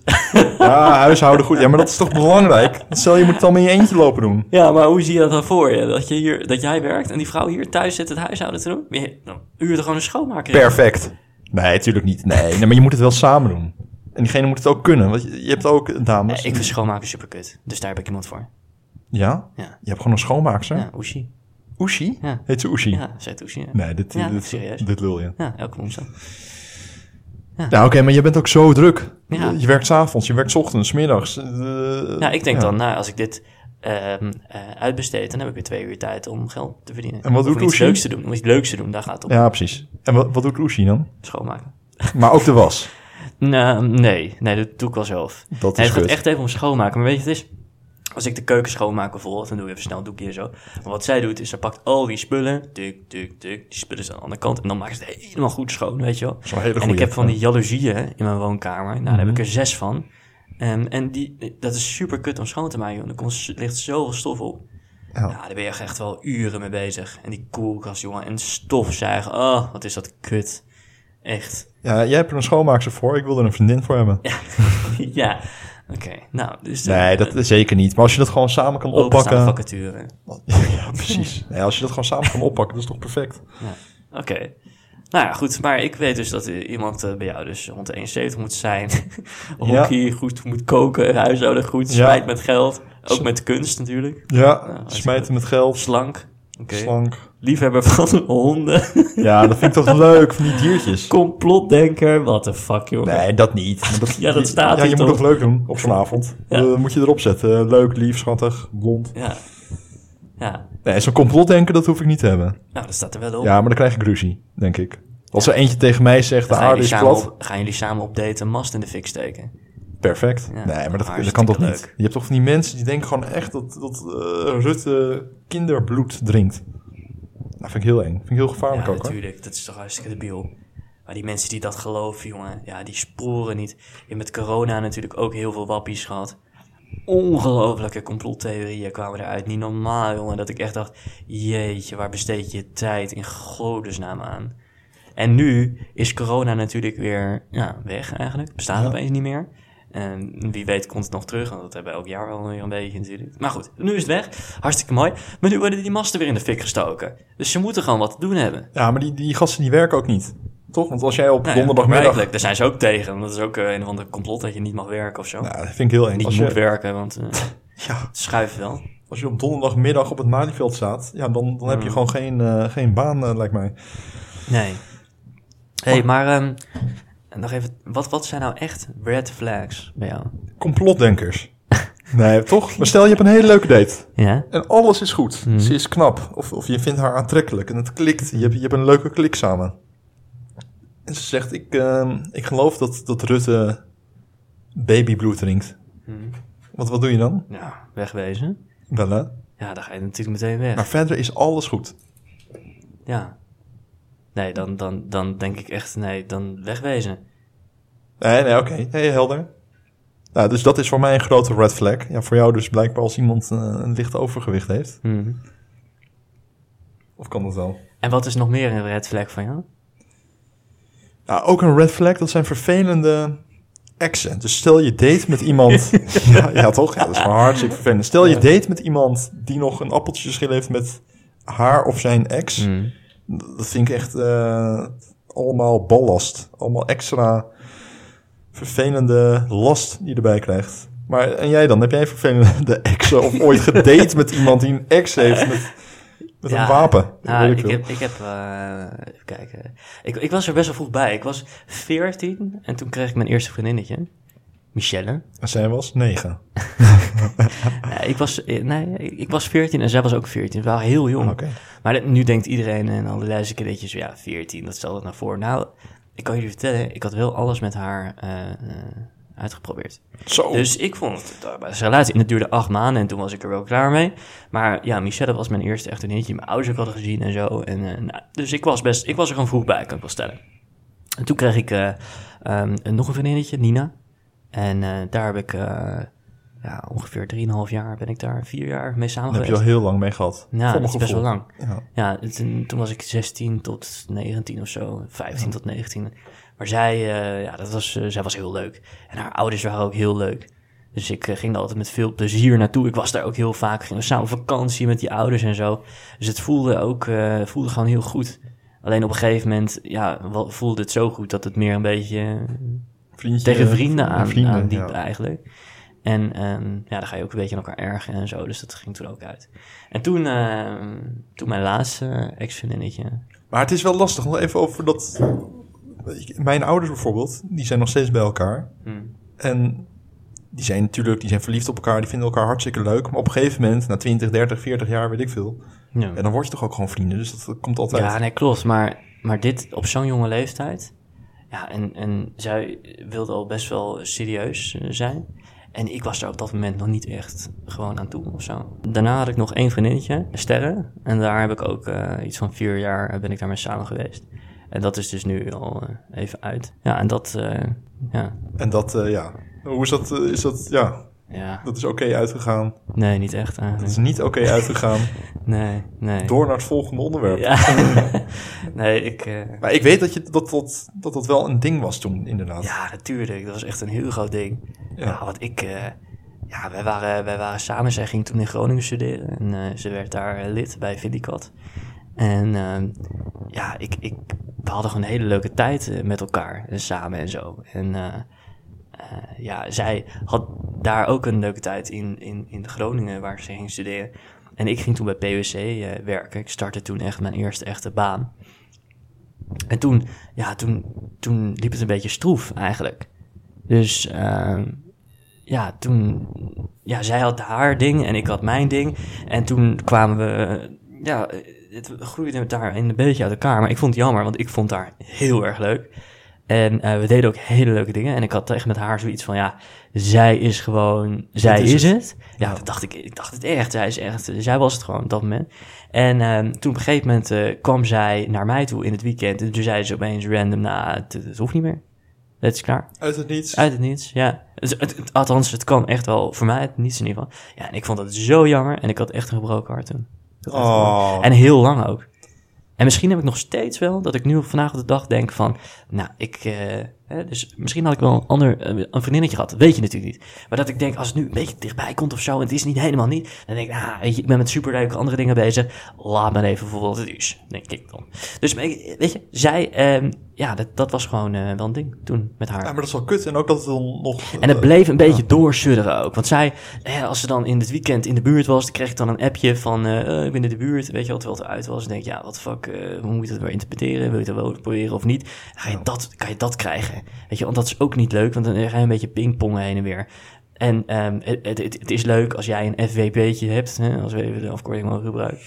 S2: Ja, huishouden goed. Ja, maar dat is toch belangrijk? Stel, je moet het allemaal in je eentje lopen doen.
S1: Ja, maar hoe zie je dat dan voor je? Dat, je hier, dat jij werkt en die vrouw hier thuis zit het huishouden te doen? Maar je- Dan huur er gewoon een schoonmaker in.
S2: Perfect. Nee, natuurlijk niet. Nee, nee, maar je moet het wel samen doen. En diegene moet het ook kunnen. Want je je hebt ook dames.
S1: Eh, Ik vind schoonmaken superkut, dus daar heb ik iemand voor.
S2: Ja?
S1: Ja.
S2: Je hebt gewoon een schoonmaakster.
S1: Ja, Oeshi.
S2: Oeshi?
S1: Ja.
S2: Heet ze Oeshi?
S1: Ja, zei Oeshi. Ja.
S2: Nee, dit,
S1: Ja,
S2: dit,
S1: serieus.
S2: dit, lul je.
S1: ja, elke woensdag.
S2: Ja, oké, maar je bent ook zo druk.
S1: Ja.
S2: Je werkt s'avonds, je werkt 's ochtends, 's middags. eh,
S1: Nou, ik denk dan, nou, als ik dit ehm, eh, uitbesteed, dan heb ik weer twee uur tijd om geld te verdienen.
S2: En wat
S1: Of
S2: doet
S1: om iets
S2: Oeshi?
S1: leuks te doen, om iets leuks te doen, daar gaat het om.
S2: Ja, precies. En wat, wat doet Oeshi dan?
S1: Schoonmaken.
S2: Maar ook de was.
S1: Nou, nee, nee, dat doe ik wel zelf.
S2: Dat
S1: Nee,
S2: is
S1: het gaat
S2: kut.
S1: echt even om schoonmaken. Maar weet je, het is. Als ik de keuken schoonmaak bijvoorbeeld, dan doe ik even snel een doekje en zo. Maar wat zij doet, is ze pakt al die spullen. Tuk, tuk, tuk. Die spullen zijn aan de andere kant. En dan maakt ze het helemaal goed schoon, weet je wel.
S2: is wel een hele
S1: En ik
S2: goeie. Mhm.
S1: heb van die jaloezieën in mijn woonkamer. Nou, daar heb ik er zes van. Ehm, en die, dat is super kut om schoon te maken, joh. Er komt, ligt zoveel stof op.
S2: Ja.
S1: Nou, daar ben je echt wel uren mee bezig. En die koelkast, jongen. En stofzuigen. Oh, wat is dat kut. Echt.
S2: Ja, jij hebt er een schoonmaakster voor, ik wil er een vriendin voor hebben.
S1: ja, oké. Nou, dus eh,
S2: Nee, dat zeker niet. Maar als je dat gewoon samen kan
S1: openstaande
S2: oppakken.
S1: vacature.
S2: Ja, precies. Nee, als je dat gewoon samen kan oppakken, dat is toch perfect?
S1: Oké. Nou ja, goed. Maar ik weet dus dat eh, iemand eh, bij jou dus rond de 71 moet zijn. Hockey goed moet koken, huishouden goed,
S2: Ja.
S1: smijt met geld. Ook met kunst natuurlijk.
S2: Ja,
S1: als je
S2: smijten met geld,
S1: Slank. Oké.
S2: slank.
S1: Liefhebber van honden.
S2: Ja, dat vind ik toch leuk, van die diertjes.
S1: Complotdenker. What the fuck, joh.
S2: Nee, dat niet. Maar dat,
S1: Ja, dat staat
S2: Ja, je
S1: hier
S2: moet
S1: toch?
S2: het leuk doen op vanavond.
S1: Ja.
S2: Eh, moet je erop zetten. Leuk, lief, schattig, blond.
S1: Ja. Ja.
S2: Nee, zo'n complotdenken, dat hoef ik niet te hebben.
S1: Nou, dat staat er wel op.
S2: Ja, maar dan krijg ik ruzie, denk ik. Als er eentje tegen mij zegt, de
S1: Dan gaan,
S2: aarde
S1: jullie
S2: is
S1: samen
S2: plat,
S1: op, gaan jullie samen op date een mast in de fik steken?
S2: perfect.
S1: Ja,
S2: nee, maar dat, dat kan
S1: hartstikke
S2: toch niet?
S1: leuk.
S2: Je hebt toch van die mensen die denken gewoon echt dat, dat eh, Rutte kinderbloed drinkt. Dat vind ik heel eng. vind ik heel gevaarlijk
S1: ja,
S2: ook, hoor.
S1: natuurlijk. Dat is toch hartstikke debiel. Maar die mensen die dat geloven, jongen, ja, die sporen niet. Je hebt met corona natuurlijk ook heel veel wappies gehad. Ongelooflijke complottheorieën kwamen eruit. Niet normaal, jongen. Dat ik echt dacht, jeetje, waar besteed je je tijd in godesnaam aan? En nu is corona natuurlijk weer ja, weg eigenlijk. Bestaat opeens niet meer. En wie weet komt het nog terug, want dat hebben we elk jaar wel weer een beetje natuurlijk. Maar goed, nu is het weg. Hartstikke mooi. Maar nu worden die masten weer in de fik gestoken. Dus ze moeten gewoon wat te doen hebben.
S2: Ja, maar die, die gasten die werken ook niet. Toch? Want als jij op
S1: Nou ja,
S2: donderdagmiddag...
S1: blijkbaar. daar zijn ze ook tegen. want Dat is ook eh, een of ander complot dat je niet mag werken of zo.
S2: Ja, dat vind ik heel eng.
S1: niet
S2: Nou, Als
S1: moet
S2: je,
S1: werken, want eh,
S2: ja,
S1: het schuift wel.
S2: als je op donderdagmiddag op het Malieveld staat... Ja, dan, dan
S1: Mm.
S2: heb je gewoon geen, eh, geen baan, eh, lijkt mij.
S1: Nee. Hé, hey, maar ehm, nog even. Wat, wat zijn nou echt red flags bij jou?
S2: Complotdenkers. nee, toch? Maar stel, je hebt een hele leuke date.
S1: Ja?
S2: En alles is goed. Ze is knap. Of, of je vindt haar aantrekkelijk. En het klikt. Je hebt, je hebt een leuke klik samen. En ze zegt, ik, ehm, ik geloof dat, dat Rutte babybloed drinkt. Want wat doe je dan?
S1: Ja, wegwezen.
S2: Wel, hè?
S1: Ja, dan ga je natuurlijk meteen weg.
S2: Maar verder is alles goed.
S1: Ja. Nee, dan, dan, dan denk ik echt, nee, dan wegwezen.
S2: Nee, nee, oké. Hey, helder. Nou, dus dat is voor mij een grote red flag. Ja, voor jou dus blijkbaar als iemand eh, een licht overgewicht heeft.
S1: Mhm.
S2: Of kan dat wel?
S1: En wat is nog meer een red flag van jou?
S2: Nou, ook een red flag, dat zijn vervelende exen. Dus stel je date met iemand... ja, ja, toch? Ja, dat is maar hartstikke vervelend. Stel je date met iemand die nog een appeltje schil heeft met haar of zijn ex.
S1: Mhm.
S2: Dat vind ik echt eh, allemaal ballast. Allemaal extra vervelende last die je erbij krijgt. Maar en jij dan? Heb jij vervelende exen of ooit gedate met iemand die een ex heeft met, met
S1: Ja.
S2: een wapen?
S1: Nou,
S2: Weet
S1: ik
S2: veel.
S1: heb, ik heb eh, even kijken. Ik, ik was er best wel vroeg bij. Ik was 14 en toen kreeg ik mijn eerste vriendinnetje. Michelle.
S2: En zij was negen.
S1: Ja, ik, was, eh, nee, ik was 14 en zij was ook 14. We waren heel jong.
S2: Ah, Oké.
S1: Maar dit- nu denkt iedereen en alle luisterkidetjes, ja, 14, dat stelt dat nou voor. Nou, ik kan jullie vertellen, ik had wel alles met haar eh, eh, uitgeprobeerd.
S2: Zo.
S1: Dus ik vond het eh, best een relatie. En het duurde acht maanden en toen was ik er wel klaar mee. Maar ja, Michelle was mijn eerste echt een eentje. Mijn ouders ook hadden gezien en zo. En, eh, nou, dus ik was, best, ik was er gewoon vroeg bij, kan ik wel stellen. En toen kreeg ik eh, ehm, een- nog een vriendinnetje, Nina. En eh, daar heb ik eh, ja, ongeveer 3,5 jaar ben ik daar, vier jaar mee samen
S2: Daar heb je al
S1: geweest.
S2: heel lang mee gehad.
S1: ja,
S2: Voor
S1: dat
S2: mijn
S1: is best wel
S2: gevoel.
S1: lang.
S2: Ja.
S1: Ja, toen, toen was ik 16 tot 19 of zo, 15 tot 19. Maar zij, eh, ja, dat was, eh, zij was heel leuk. En haar ouders waren ook heel leuk. Dus ik eh, ging daar altijd met veel plezier naartoe. Ik was daar ook heel vaak. Gingen we samen op vakantie met die ouders en zo. Dus het voelde ook eh, voelde gewoon heel goed. Alleen op een gegeven moment ja, wel- voelde het zo goed dat het meer een beetje eh,
S2: Vriendje, eh,
S1: tegen vrienden aan,
S2: vrienden,
S1: aan diep
S2: ja.
S1: eigenlijk. En ehm, ja, dan ga je ook een beetje aan elkaar ergen en zo. Dus dat ging toen ook uit. En toen, ehm, toen mijn laatste ex-vriendinnetje.
S2: Maar het is wel lastig, nog even over dat... Ik- Mijn ouders bijvoorbeeld, die zijn nog steeds bij elkaar.
S1: Hmm.
S2: En die zijn natuurlijk, die zijn verliefd op elkaar, die vinden elkaar hartstikke leuk. Maar op een gegeven moment, na 20, 30, 40 jaar, weet ik veel...
S1: Ja.
S2: En dan word je toch ook gewoon vrienden, dus dat komt altijd.
S1: Hmm. ja, nee, klopt. Maar, maar dit op zo'n jonge leeftijd. Ja, en, en zij wilde al best wel serieus eh, zijn. En ik was daar op dat moment nog niet echt gewoon aan toe of zo. Daarna had ik nog één vriendinnetje, Sterre. En daar heb ik ook eh, iets van vier jaar eh, ben ik daarmee samen geweest. En dat is dus nu al eh, even uit. Ja, en dat, eh, ja,
S2: En dat, eh, ja. Hoe is dat, eh, is dat, ja,
S1: ja.
S2: dat is oké uitgegaan.
S1: Nee, niet echt
S2: Dat is
S1: eigenlijk.
S2: niet oké uitgegaan.
S1: Nee, nee.
S2: Door naar het volgende onderwerp.
S1: Ja. nee, ik... eh,
S2: Maar ik weet dat, je, dat, dat, dat dat wel een ding was toen, inderdaad.
S1: Ja, natuurlijk. Dat was echt een heel groot ding.
S2: Ja.
S1: Ja, want ik... eh, ja, wij waren, wij waren samen. Zij ging toen in Groningen studeren. En eh, ze werd daar eh, lid bij Vindicat. En ehm, ja, ik, ik, we hadden gewoon een hele leuke tijd eh, met elkaar. En samen en zo. En eh, eh, ja, zij had daar ook een leuke tijd in, in, in Groningen waar ze ging studeren. En ik ging toen bij PwC eh, werken. Ik startte toen echt mijn eerste echte baan. En toen, ja, toen, toen liep het een beetje stroef eigenlijk. Dus ehm, ja, toen... Ja, zij had haar ding en ik had mijn ding. En toen kwamen we... eh, Ja, eh, het groeide daar een beetje uit elkaar. Maar ik vond het jammer, want ik vond haar heel erg leuk. En eh, we deden ook hele leuke dingen. En ik had echt met haar zoiets van, ja, zij is gewoon... Zij
S2: is
S1: is,
S2: het.
S1: het. Ja, dat dacht ik, ik dacht het echt. Zij is echt, zij was het gewoon op dat moment. En ehm, toen op een gegeven moment eh, kwam zij naar mij toe in het weekend. En toen zei ze opeens random, nou, het, het hoeft niet meer. Het is klaar.
S2: Uit het niets.
S1: Uit het niets, ja. Het, het- het- althans, het kan echt wel voor mij het niets in ieder geval. Ja, en ik vond dat zo jammer. En ik had echt een gebroken hart toen. Dat had echt een
S2: Oh.
S1: en heel lang ook. En misschien heb ik nog steeds wel dat ik nu op vandaag op de dag denk van, nou, ik, eh, hè, dus misschien had ik wel een ander, eh, een vriendinnetje gehad, dat weet je natuurlijk niet. Maar dat ik denk, als het nu een beetje dichtbij komt of zo, en het is niet helemaal niet, dan denk ik, ah, weet je, ik ben met superleuke andere dingen bezig, laat me even voor wat het is, denk ik dan. Dus, maar ik- weet je, zij, ehm, ja, dat, dat was gewoon eh, wel een ding toen met haar.
S2: Ja, maar dat is wel kut. En ook dat het dan nog...
S1: En het
S2: eh,
S1: bleef een beetje doorsudderen ook. Want zij, hè, als ze dan in het weekend in de buurt was, dan kreeg ik dan een appje van eh, eh, ik ben in de buurt, weet je wat, terwijl het eruit was. En denk ik, ja, wat de fuck, eh, hoe moet je dat weer interpreteren? Wil je dat wel proberen of niet? Ga je dat, kan je dat krijgen? Weet je, want dat is ook niet leuk, want dan ga je een beetje pingpongen heen en weer. En ehm, het, het, het is leuk als jij een FWP'tje hebt, hè, als we even de afkorting mogen gebruiken.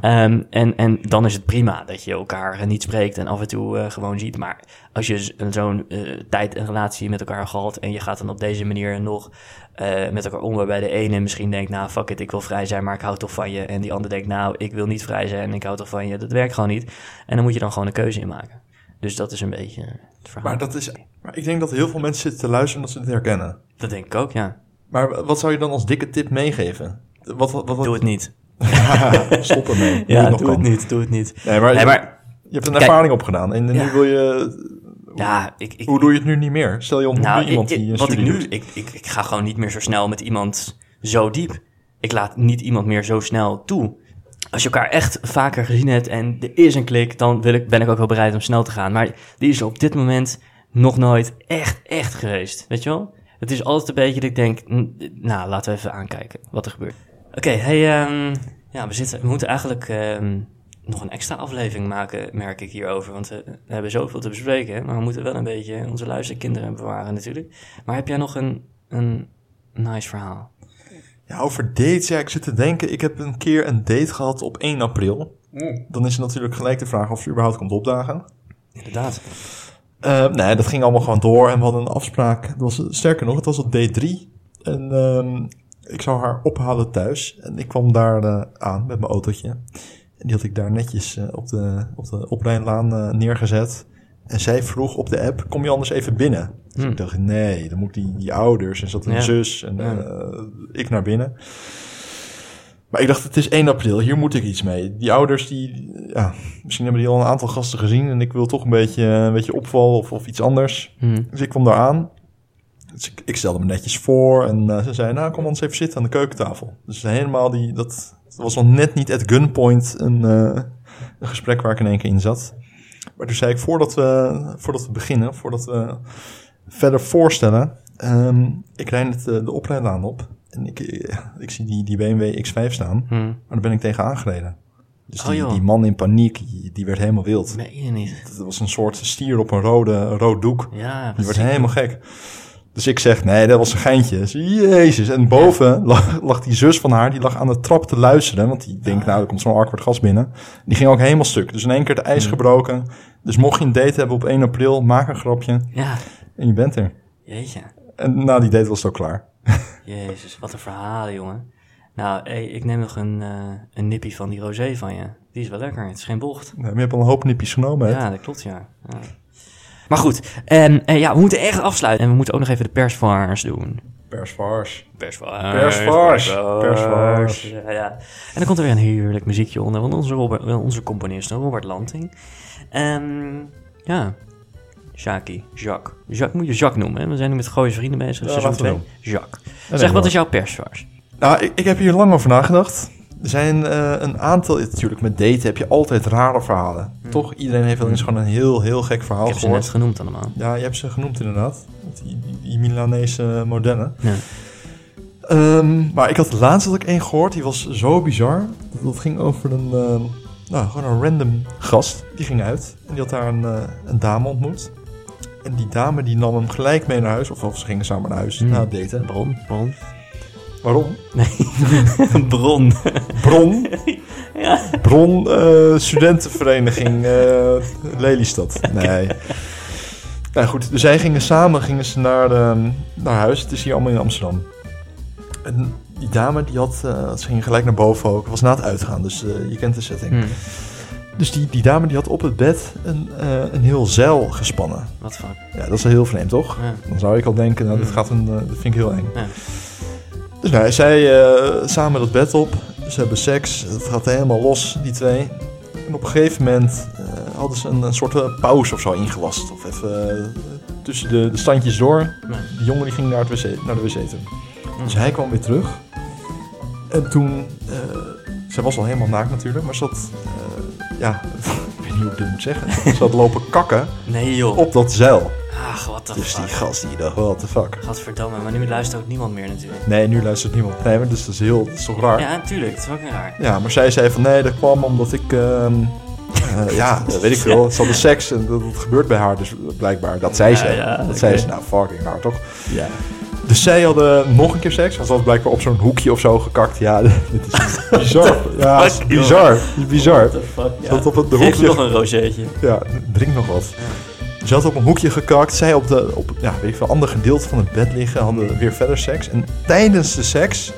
S1: Ehm, en, en dan is het prima dat je elkaar eh, niet spreekt en af en toe eh, gewoon ziet. Maar als je z- zo'n eh, tijd en relatie met elkaar gehad en je gaat dan op deze manier nog eh, met elkaar om, waarbij de ene misschien denkt, nou fuck it, ik wil vrij zijn, maar ik hou toch van je. En die ander denkt, nou ik wil niet vrij zijn en ik hou toch van je. Dat werkt gewoon niet. En dan moet je dan gewoon een keuze in maken. Dus dat is een beetje het verhaal.
S2: Maar dat is... Maar ik denk dat heel veel mensen zitten te luisteren en dat ze het herkennen.
S1: dat denk ik ook, ja.
S2: Maar wat zou je dan als dikke tip meegeven? Wat, wat, wat,
S1: Doe het niet.
S2: Stop ermee. Hoe
S1: Ja,
S2: nog
S1: doe
S2: kan.
S1: het niet, doe het niet.
S2: Nee, maar,
S1: Nee, maar
S2: je hebt een
S1: Kijk.
S2: ervaring opgedaan. En nu
S1: Ja.
S2: wil je...
S1: ja, ik, ik,
S2: Hoe doe je het nu niet meer? Stel je ontmoet
S1: Nou,
S2: iemand
S1: ik- ik-
S2: die een
S1: wat ik
S2: studie
S1: nu,
S2: doet.
S1: ik, ik, ik ga gewoon niet meer zo snel met iemand zo diep. Ik laat niet iemand meer zo snel toe. Als je elkaar echt vaker gezien hebt en er is een klik, dan wil ik, ben ik ook wel bereid om snel te gaan. Maar die is er op dit moment nog nooit echt, echt geweest. Weet je wel? Het is altijd een beetje dat ik denk, n- nou, laten we even aankijken wat er gebeurt. Oké, hey, ehm, ja, we, zitten, we moeten eigenlijk ehm, nog een extra aflevering maken, merk ik hierover. Want eh, we hebben zoveel te bespreken, hè, maar we moeten wel een beetje onze luisterkinderen bewaren natuurlijk. Maar heb jij nog een, een nice verhaal?
S2: Ja, over dates. Ja, ik zit te denken. Ik heb een keer een date gehad op 1 april. Dan is er natuurlijk gelijk de vraag of ze überhaupt komt opdagen.
S1: Inderdaad.
S2: Eh, nee, dat ging allemaal gewoon door en we hadden een afspraak. Dat was, sterker nog, het was op day 3. En ehm, ik zou haar ophalen thuis. En ik kwam daar eh, aan met mijn autootje. En die had ik daar netjes eh, op, de, op de oprijnlaan eh, neergezet. En zij vroeg op de app, kom je anders even binnen? Dus
S1: Hmm.
S2: ik dacht, nee, dan moet die, die ouders en zat een
S1: Ja.
S2: zus en
S1: Ja.
S2: eh, ik naar binnen. Maar ik dacht, het is 1 april, hier moet ik iets mee. Die ouders, die, ja, misschien hebben die al een aantal gasten gezien... en ik wil toch een beetje, een beetje opvallen of, of iets anders.
S1: Hm.
S2: Dus ik kwam daar aan. Dus ik, ik stelde me netjes voor en eh, ze zei... nou, kom ons even zitten aan de keukentafel. Dus helemaal die... dat, dat was nog net niet at gunpoint een, eh, een gesprek waar ik in één keer in zat. Maar toen zei ik, voordat we, voordat we beginnen, voordat we verder voorstellen... ehm, ik rijd net eh, de oprijlaan op en ik, eh, ik zie die, die BMW X5 staan...
S1: Hm.
S2: Maar daar ben ik tegen aangereden. Dus
S1: Oh,
S2: die,
S1: joh.
S2: die man in paniek, die, die werd helemaal wild.
S1: Meen je niet?
S2: Het was een soort stier op een rode, een rood doek.
S1: Ja,
S2: Die
S1: wat
S2: werd
S1: ziek.
S2: helemaal gek. Dus ik zeg, nee, dat was een geintje. Dus, Jezus. En boven lag, lag die zus van haar, die lag aan de trap te luisteren. Want die denkt, nou, er komt zo'n awkward gast binnen. Die ging ook helemaal stuk. Dus in één keer het ijs gebroken. Dus mocht je een date hebben op 1 april, maak een grapje.
S1: Ja,
S2: En je bent er.
S1: jeetje.
S2: En na die date was het ook klaar.
S1: Jezus, wat een verhaal, jongen. Nou, hey, ik neem nog een, eh, een nippie van die rosé van je. Die is wel lekker, het is geen bocht.
S2: Nou, je hebt al een hoop nippies genomen, hè?
S1: Ja, dat klopt, ja. Ja. Maar goed, en, en ja, we moeten echt afsluiten. En we moeten ook nog even de persvars doen.
S2: Persvars.
S1: Persvars.
S2: Persvars.
S1: Persvars.
S2: Persvars.
S1: Eh, Ja, ja. En dan komt er weer een heerlijk muziekje onder. Want onze, Robert, eh, onze componist, Robert Lanting. Ehm, ja. Shaki, Jacques. Jacques moet je Jacques noemen, hè? We zijn nu met Gooise Vrienden bezig.
S2: Ja,
S1: seizoen
S2: laten we
S1: 2. Jacques.
S2: nee,
S1: zeg, wat
S2: hoor.
S1: is jouw persvars?
S2: Nou, ik, ik heb hier lang over nagedacht. Er zijn eh, een aantal, natuurlijk met daten heb je altijd rare verhalen. Toch, iedereen heeft wel eens gewoon een heel, heel gek verhaal
S1: Mm. Ik heb ze
S2: gehoord.
S1: net genoemd allemaal.
S2: Ja, je hebt ze genoemd inderdaad. Die, die, die Milanese modellen.
S1: Ja.
S2: Ehm, maar ik had laatst had ik één gehoord, die was zo bizar. Dat, dat ging over een, ehm, nou, gewoon een random gast. Die ging uit en die had daar een, eh, een dame ontmoet. En die dame die nam hem gelijk mee naar huis. Of, of ze gingen samen naar huis,
S1: Hmm.
S2: na het daten.
S1: Bron, bron.
S2: Waarom?
S1: bron.
S2: Bron. Bron eh, studentenvereniging eh, Lelystad. Nee. Nou goed, dus zij gingen samen gingen ze naar, ehm, naar huis. Het is hier allemaal in Amsterdam. En die dame die had, eh, ze ging gelijk naar boven ook. Het was na het uitgaan, dus eh, je kent de setting.
S1: Hm,
S2: Dus die, die dame die had op het bed een, eh, een heel zeil gespannen.
S1: Wat fuck.
S2: Ja, dat is wel heel vreemd, toch?
S1: Ja.
S2: Dan zou ik al denken, nou, dit
S1: Mm.
S2: gaat een, eh, dat vind ik heel eng.
S1: Ja.
S2: Dus nou, zij eh, samen dat bed op. Ze hebben seks. Het gaat helemaal los, die twee. En op een gegeven moment eh, hadden ze een, een soort eh, pauze of zo ingelast. Of even eh, tussen de, de standjes door.
S1: Nee.
S2: Die jongen die ging naar, het wc, naar de wc toe. Dus hij kwam weer terug. En toen... eh, zij was al helemaal naakt natuurlijk, maar ze had... eh, ja, ik weet niet hoe ik dit moet zeggen. Ze had lopen kakken
S1: Nee joh.
S2: op dat zeil.
S1: Ach, what the
S2: Dus die
S1: fuck.
S2: gast die dacht, what the fuck.
S1: Gadverdamme, maar nu luistert ook niemand meer natuurlijk.
S2: Nee, nu luistert niemand. Nee, maar dus dat is heel, dat is toch raar. Ja.
S1: Ja, tuurlijk, het is ook raar.
S2: maar zij zei van nee, dat kwam omdat ik, ehm, eh, ja, eh, weet ik veel. Ze hadden seks en dat, dat gebeurt bij haar dus blijkbaar. Dat zei
S1: Ja,
S2: ze.
S1: ja,
S2: dat
S1: oké.
S2: zei ze, nou fucking raar toch.
S1: Ja.
S2: Dus zij hadden nog een keer seks. want Ze had blijkbaar op zo'n hoekje of zo gekakt. Ja, dit is bizar. ja, het is
S1: fuck,
S2: bizar. Het is bizar.
S1: fuck,
S2: Ze had op het hoekje
S1: nog een rozeetje.
S2: Ja, drink nog wat. Ze had op een hoekje gekakt. Zij op de op, ja, weet ik veel, ander gedeelte van het bed liggen. Hadden weer verder seks. En tijdens de seks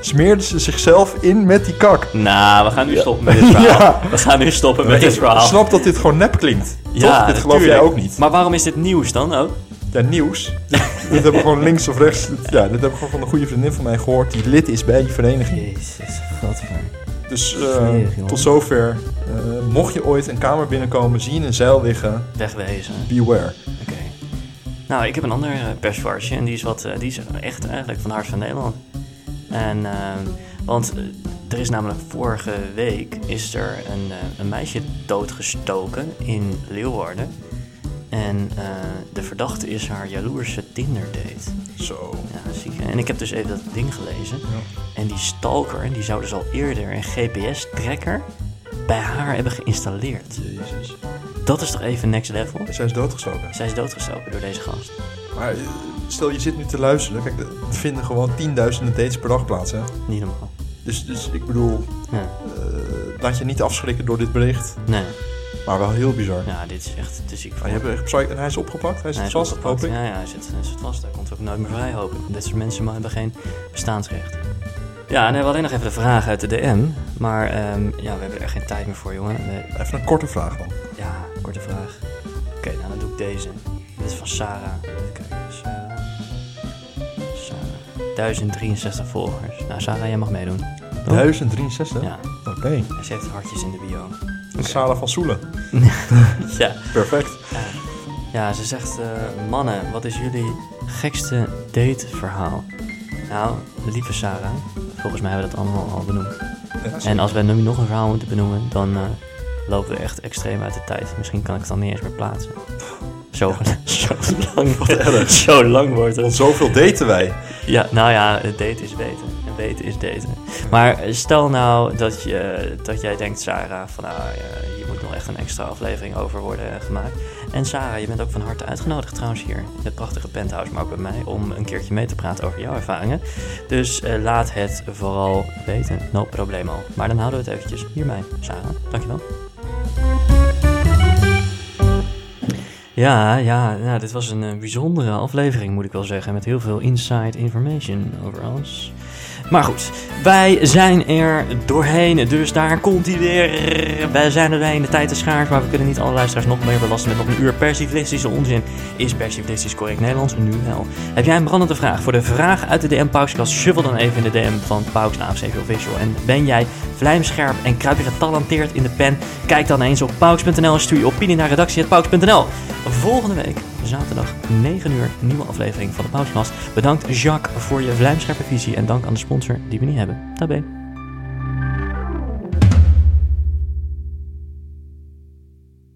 S2: smeerde ze zichzelf in met die kak.
S1: Nou, we gaan nu stoppen met dit verhaal. We gaan nu stoppen met dit
S2: Ik
S1: verhaal.
S2: snap dat dit gewoon nep klinkt. toch? Dit geloof jij
S1: tuurlijk.
S2: ook niet.
S1: Maar waarom is dit nieuws dan ook?
S2: Ja, nieuws. dit hebben we gewoon links of rechts. Dit, ja, dit heb ik gewoon van een goede vriendin van mij gehoord. Die lid is bij die vereniging.
S1: Jezus, godver.
S2: Dus eh,
S1: Smerig, joh.
S2: tot zover. Eh, mocht je ooit een kamer binnenkomen, zie je een zeil liggen.
S1: Wegwezen,
S2: Beware.
S1: oké. Nou, ik heb een ander eh, persvarsje en die is, wat, eh, die is echt eigenlijk van Hart van Nederland. En, ehm, want eh, er is namelijk vorige week is er een, eh, een meisje doodgestoken in Leeuwarden. En eh, de verdachte is haar jaloerse Tinder-date.
S2: Zo.
S1: Ja, ziek. hè? En ik heb dus even dat ding gelezen. En die stalker, die zou dus al eerder een GPS-tracker bij haar hebben geïnstalleerd.
S2: Jezus.
S1: Dat is toch even next level?
S2: Zij is doodgestoken.
S1: Zij is doodgestoken door deze gast.
S2: Maar eh, stel, je zit nu te luisteren. Kijk, er vinden gewoon tienduizenden dates per dag plaats, hè?
S1: Niet normaal.
S2: Dus, dus ik bedoel,
S1: Ja.
S2: eh, laat je niet afschrikken door dit bericht.
S1: Nee,
S2: Maar wel heel bizar.
S1: ja, dit is echt te ziek
S2: Ah,
S1: voor
S2: je hebt echt psych- en hij is opgepakt, hij zit
S1: Hij is
S2: vast,
S1: opgepakt.
S2: hoop ik.
S1: Ja, ja, hij zit, hij zit vast. Hij komt ook nooit meer vrij, hoop ik. Dit soort mensen maar hebben geen bestaansrecht. Ja, en dan hebben we alleen nog even de vraag uit de DM. Maar ehm, ja, we hebben er echt geen tijd meer voor, jongen. We-
S2: Even een korte vraag dan.
S1: ja, korte vraag. Oké, nou dan doe ik deze. Dit is van Sarah. Even kijken, Sarah. Sarah. 1063 volgers. Nou, Sarah, jij mag meedoen. Toch?
S2: 1063?
S1: Ja,
S2: Oké.
S1: en ze heeft hartjes in de bio.
S2: Sala van Soelen.
S1: Ja.
S2: Perfect.
S1: Ja, ze zegt, eh, mannen, wat is jullie gekste dateverhaal? Nou, lieve Sarah, volgens mij hebben we dat allemaal al benoemd.
S2: Ja,
S1: En als wij nu nog een verhaal moeten benoemen, dan eh, lopen we echt extreem uit de tijd. Misschien kan ik het dan niet eens meer plaatsen. Zo, zo lang wordt Zo lang wordt het.
S2: Want zoveel daten wij.
S1: Ja, nou ja, daten is weten. En weten is daten. Maar eh, stel nou dat, je, dat jij denkt, Sarah, van nou, eh, hier moet nog echt een extra aflevering over worden eh, gemaakt. En Sarah, je bent ook van harte uitgenodigd trouwens hier in het prachtige penthouse, maar ook bij mij, om een keertje mee te praten over jouw ervaringen. Dus eh, laat het vooral weten. No problemo. Maar dan houden we het eventjes hierbij, Sarah. Dankjewel. Ja, ja, nou, dit was een eh, bijzondere aflevering, moet ik wel zeggen. Met heel veel inside information over alles. Maar goed, wij zijn er doorheen, dus daar komt hij weer. Wij zijn er doorheen, de tijd is schaars, maar we kunnen niet alle luisteraars nog meer belasten met nog een uur persiflistische onzin. Is persiflistisch correct Nederlands? Nu wel. Heb jij een brandende vraag voor de vraag uit de DM Paukskast? Shuffle dan even in de DM van Pauks AFC Official. En ben jij vlijmscherp en kruip je getalenteerd in de pen? Kijk dan eens op pauks.nl en stuur je opinie naar redactie.pauks.nl. Volgende week, zaterdag 9 uur, nieuwe aflevering van de Pauskast. Bedankt Jacques voor je vlijmscherpe visie en dank aan de sponsor die we niet hebben. Tabé.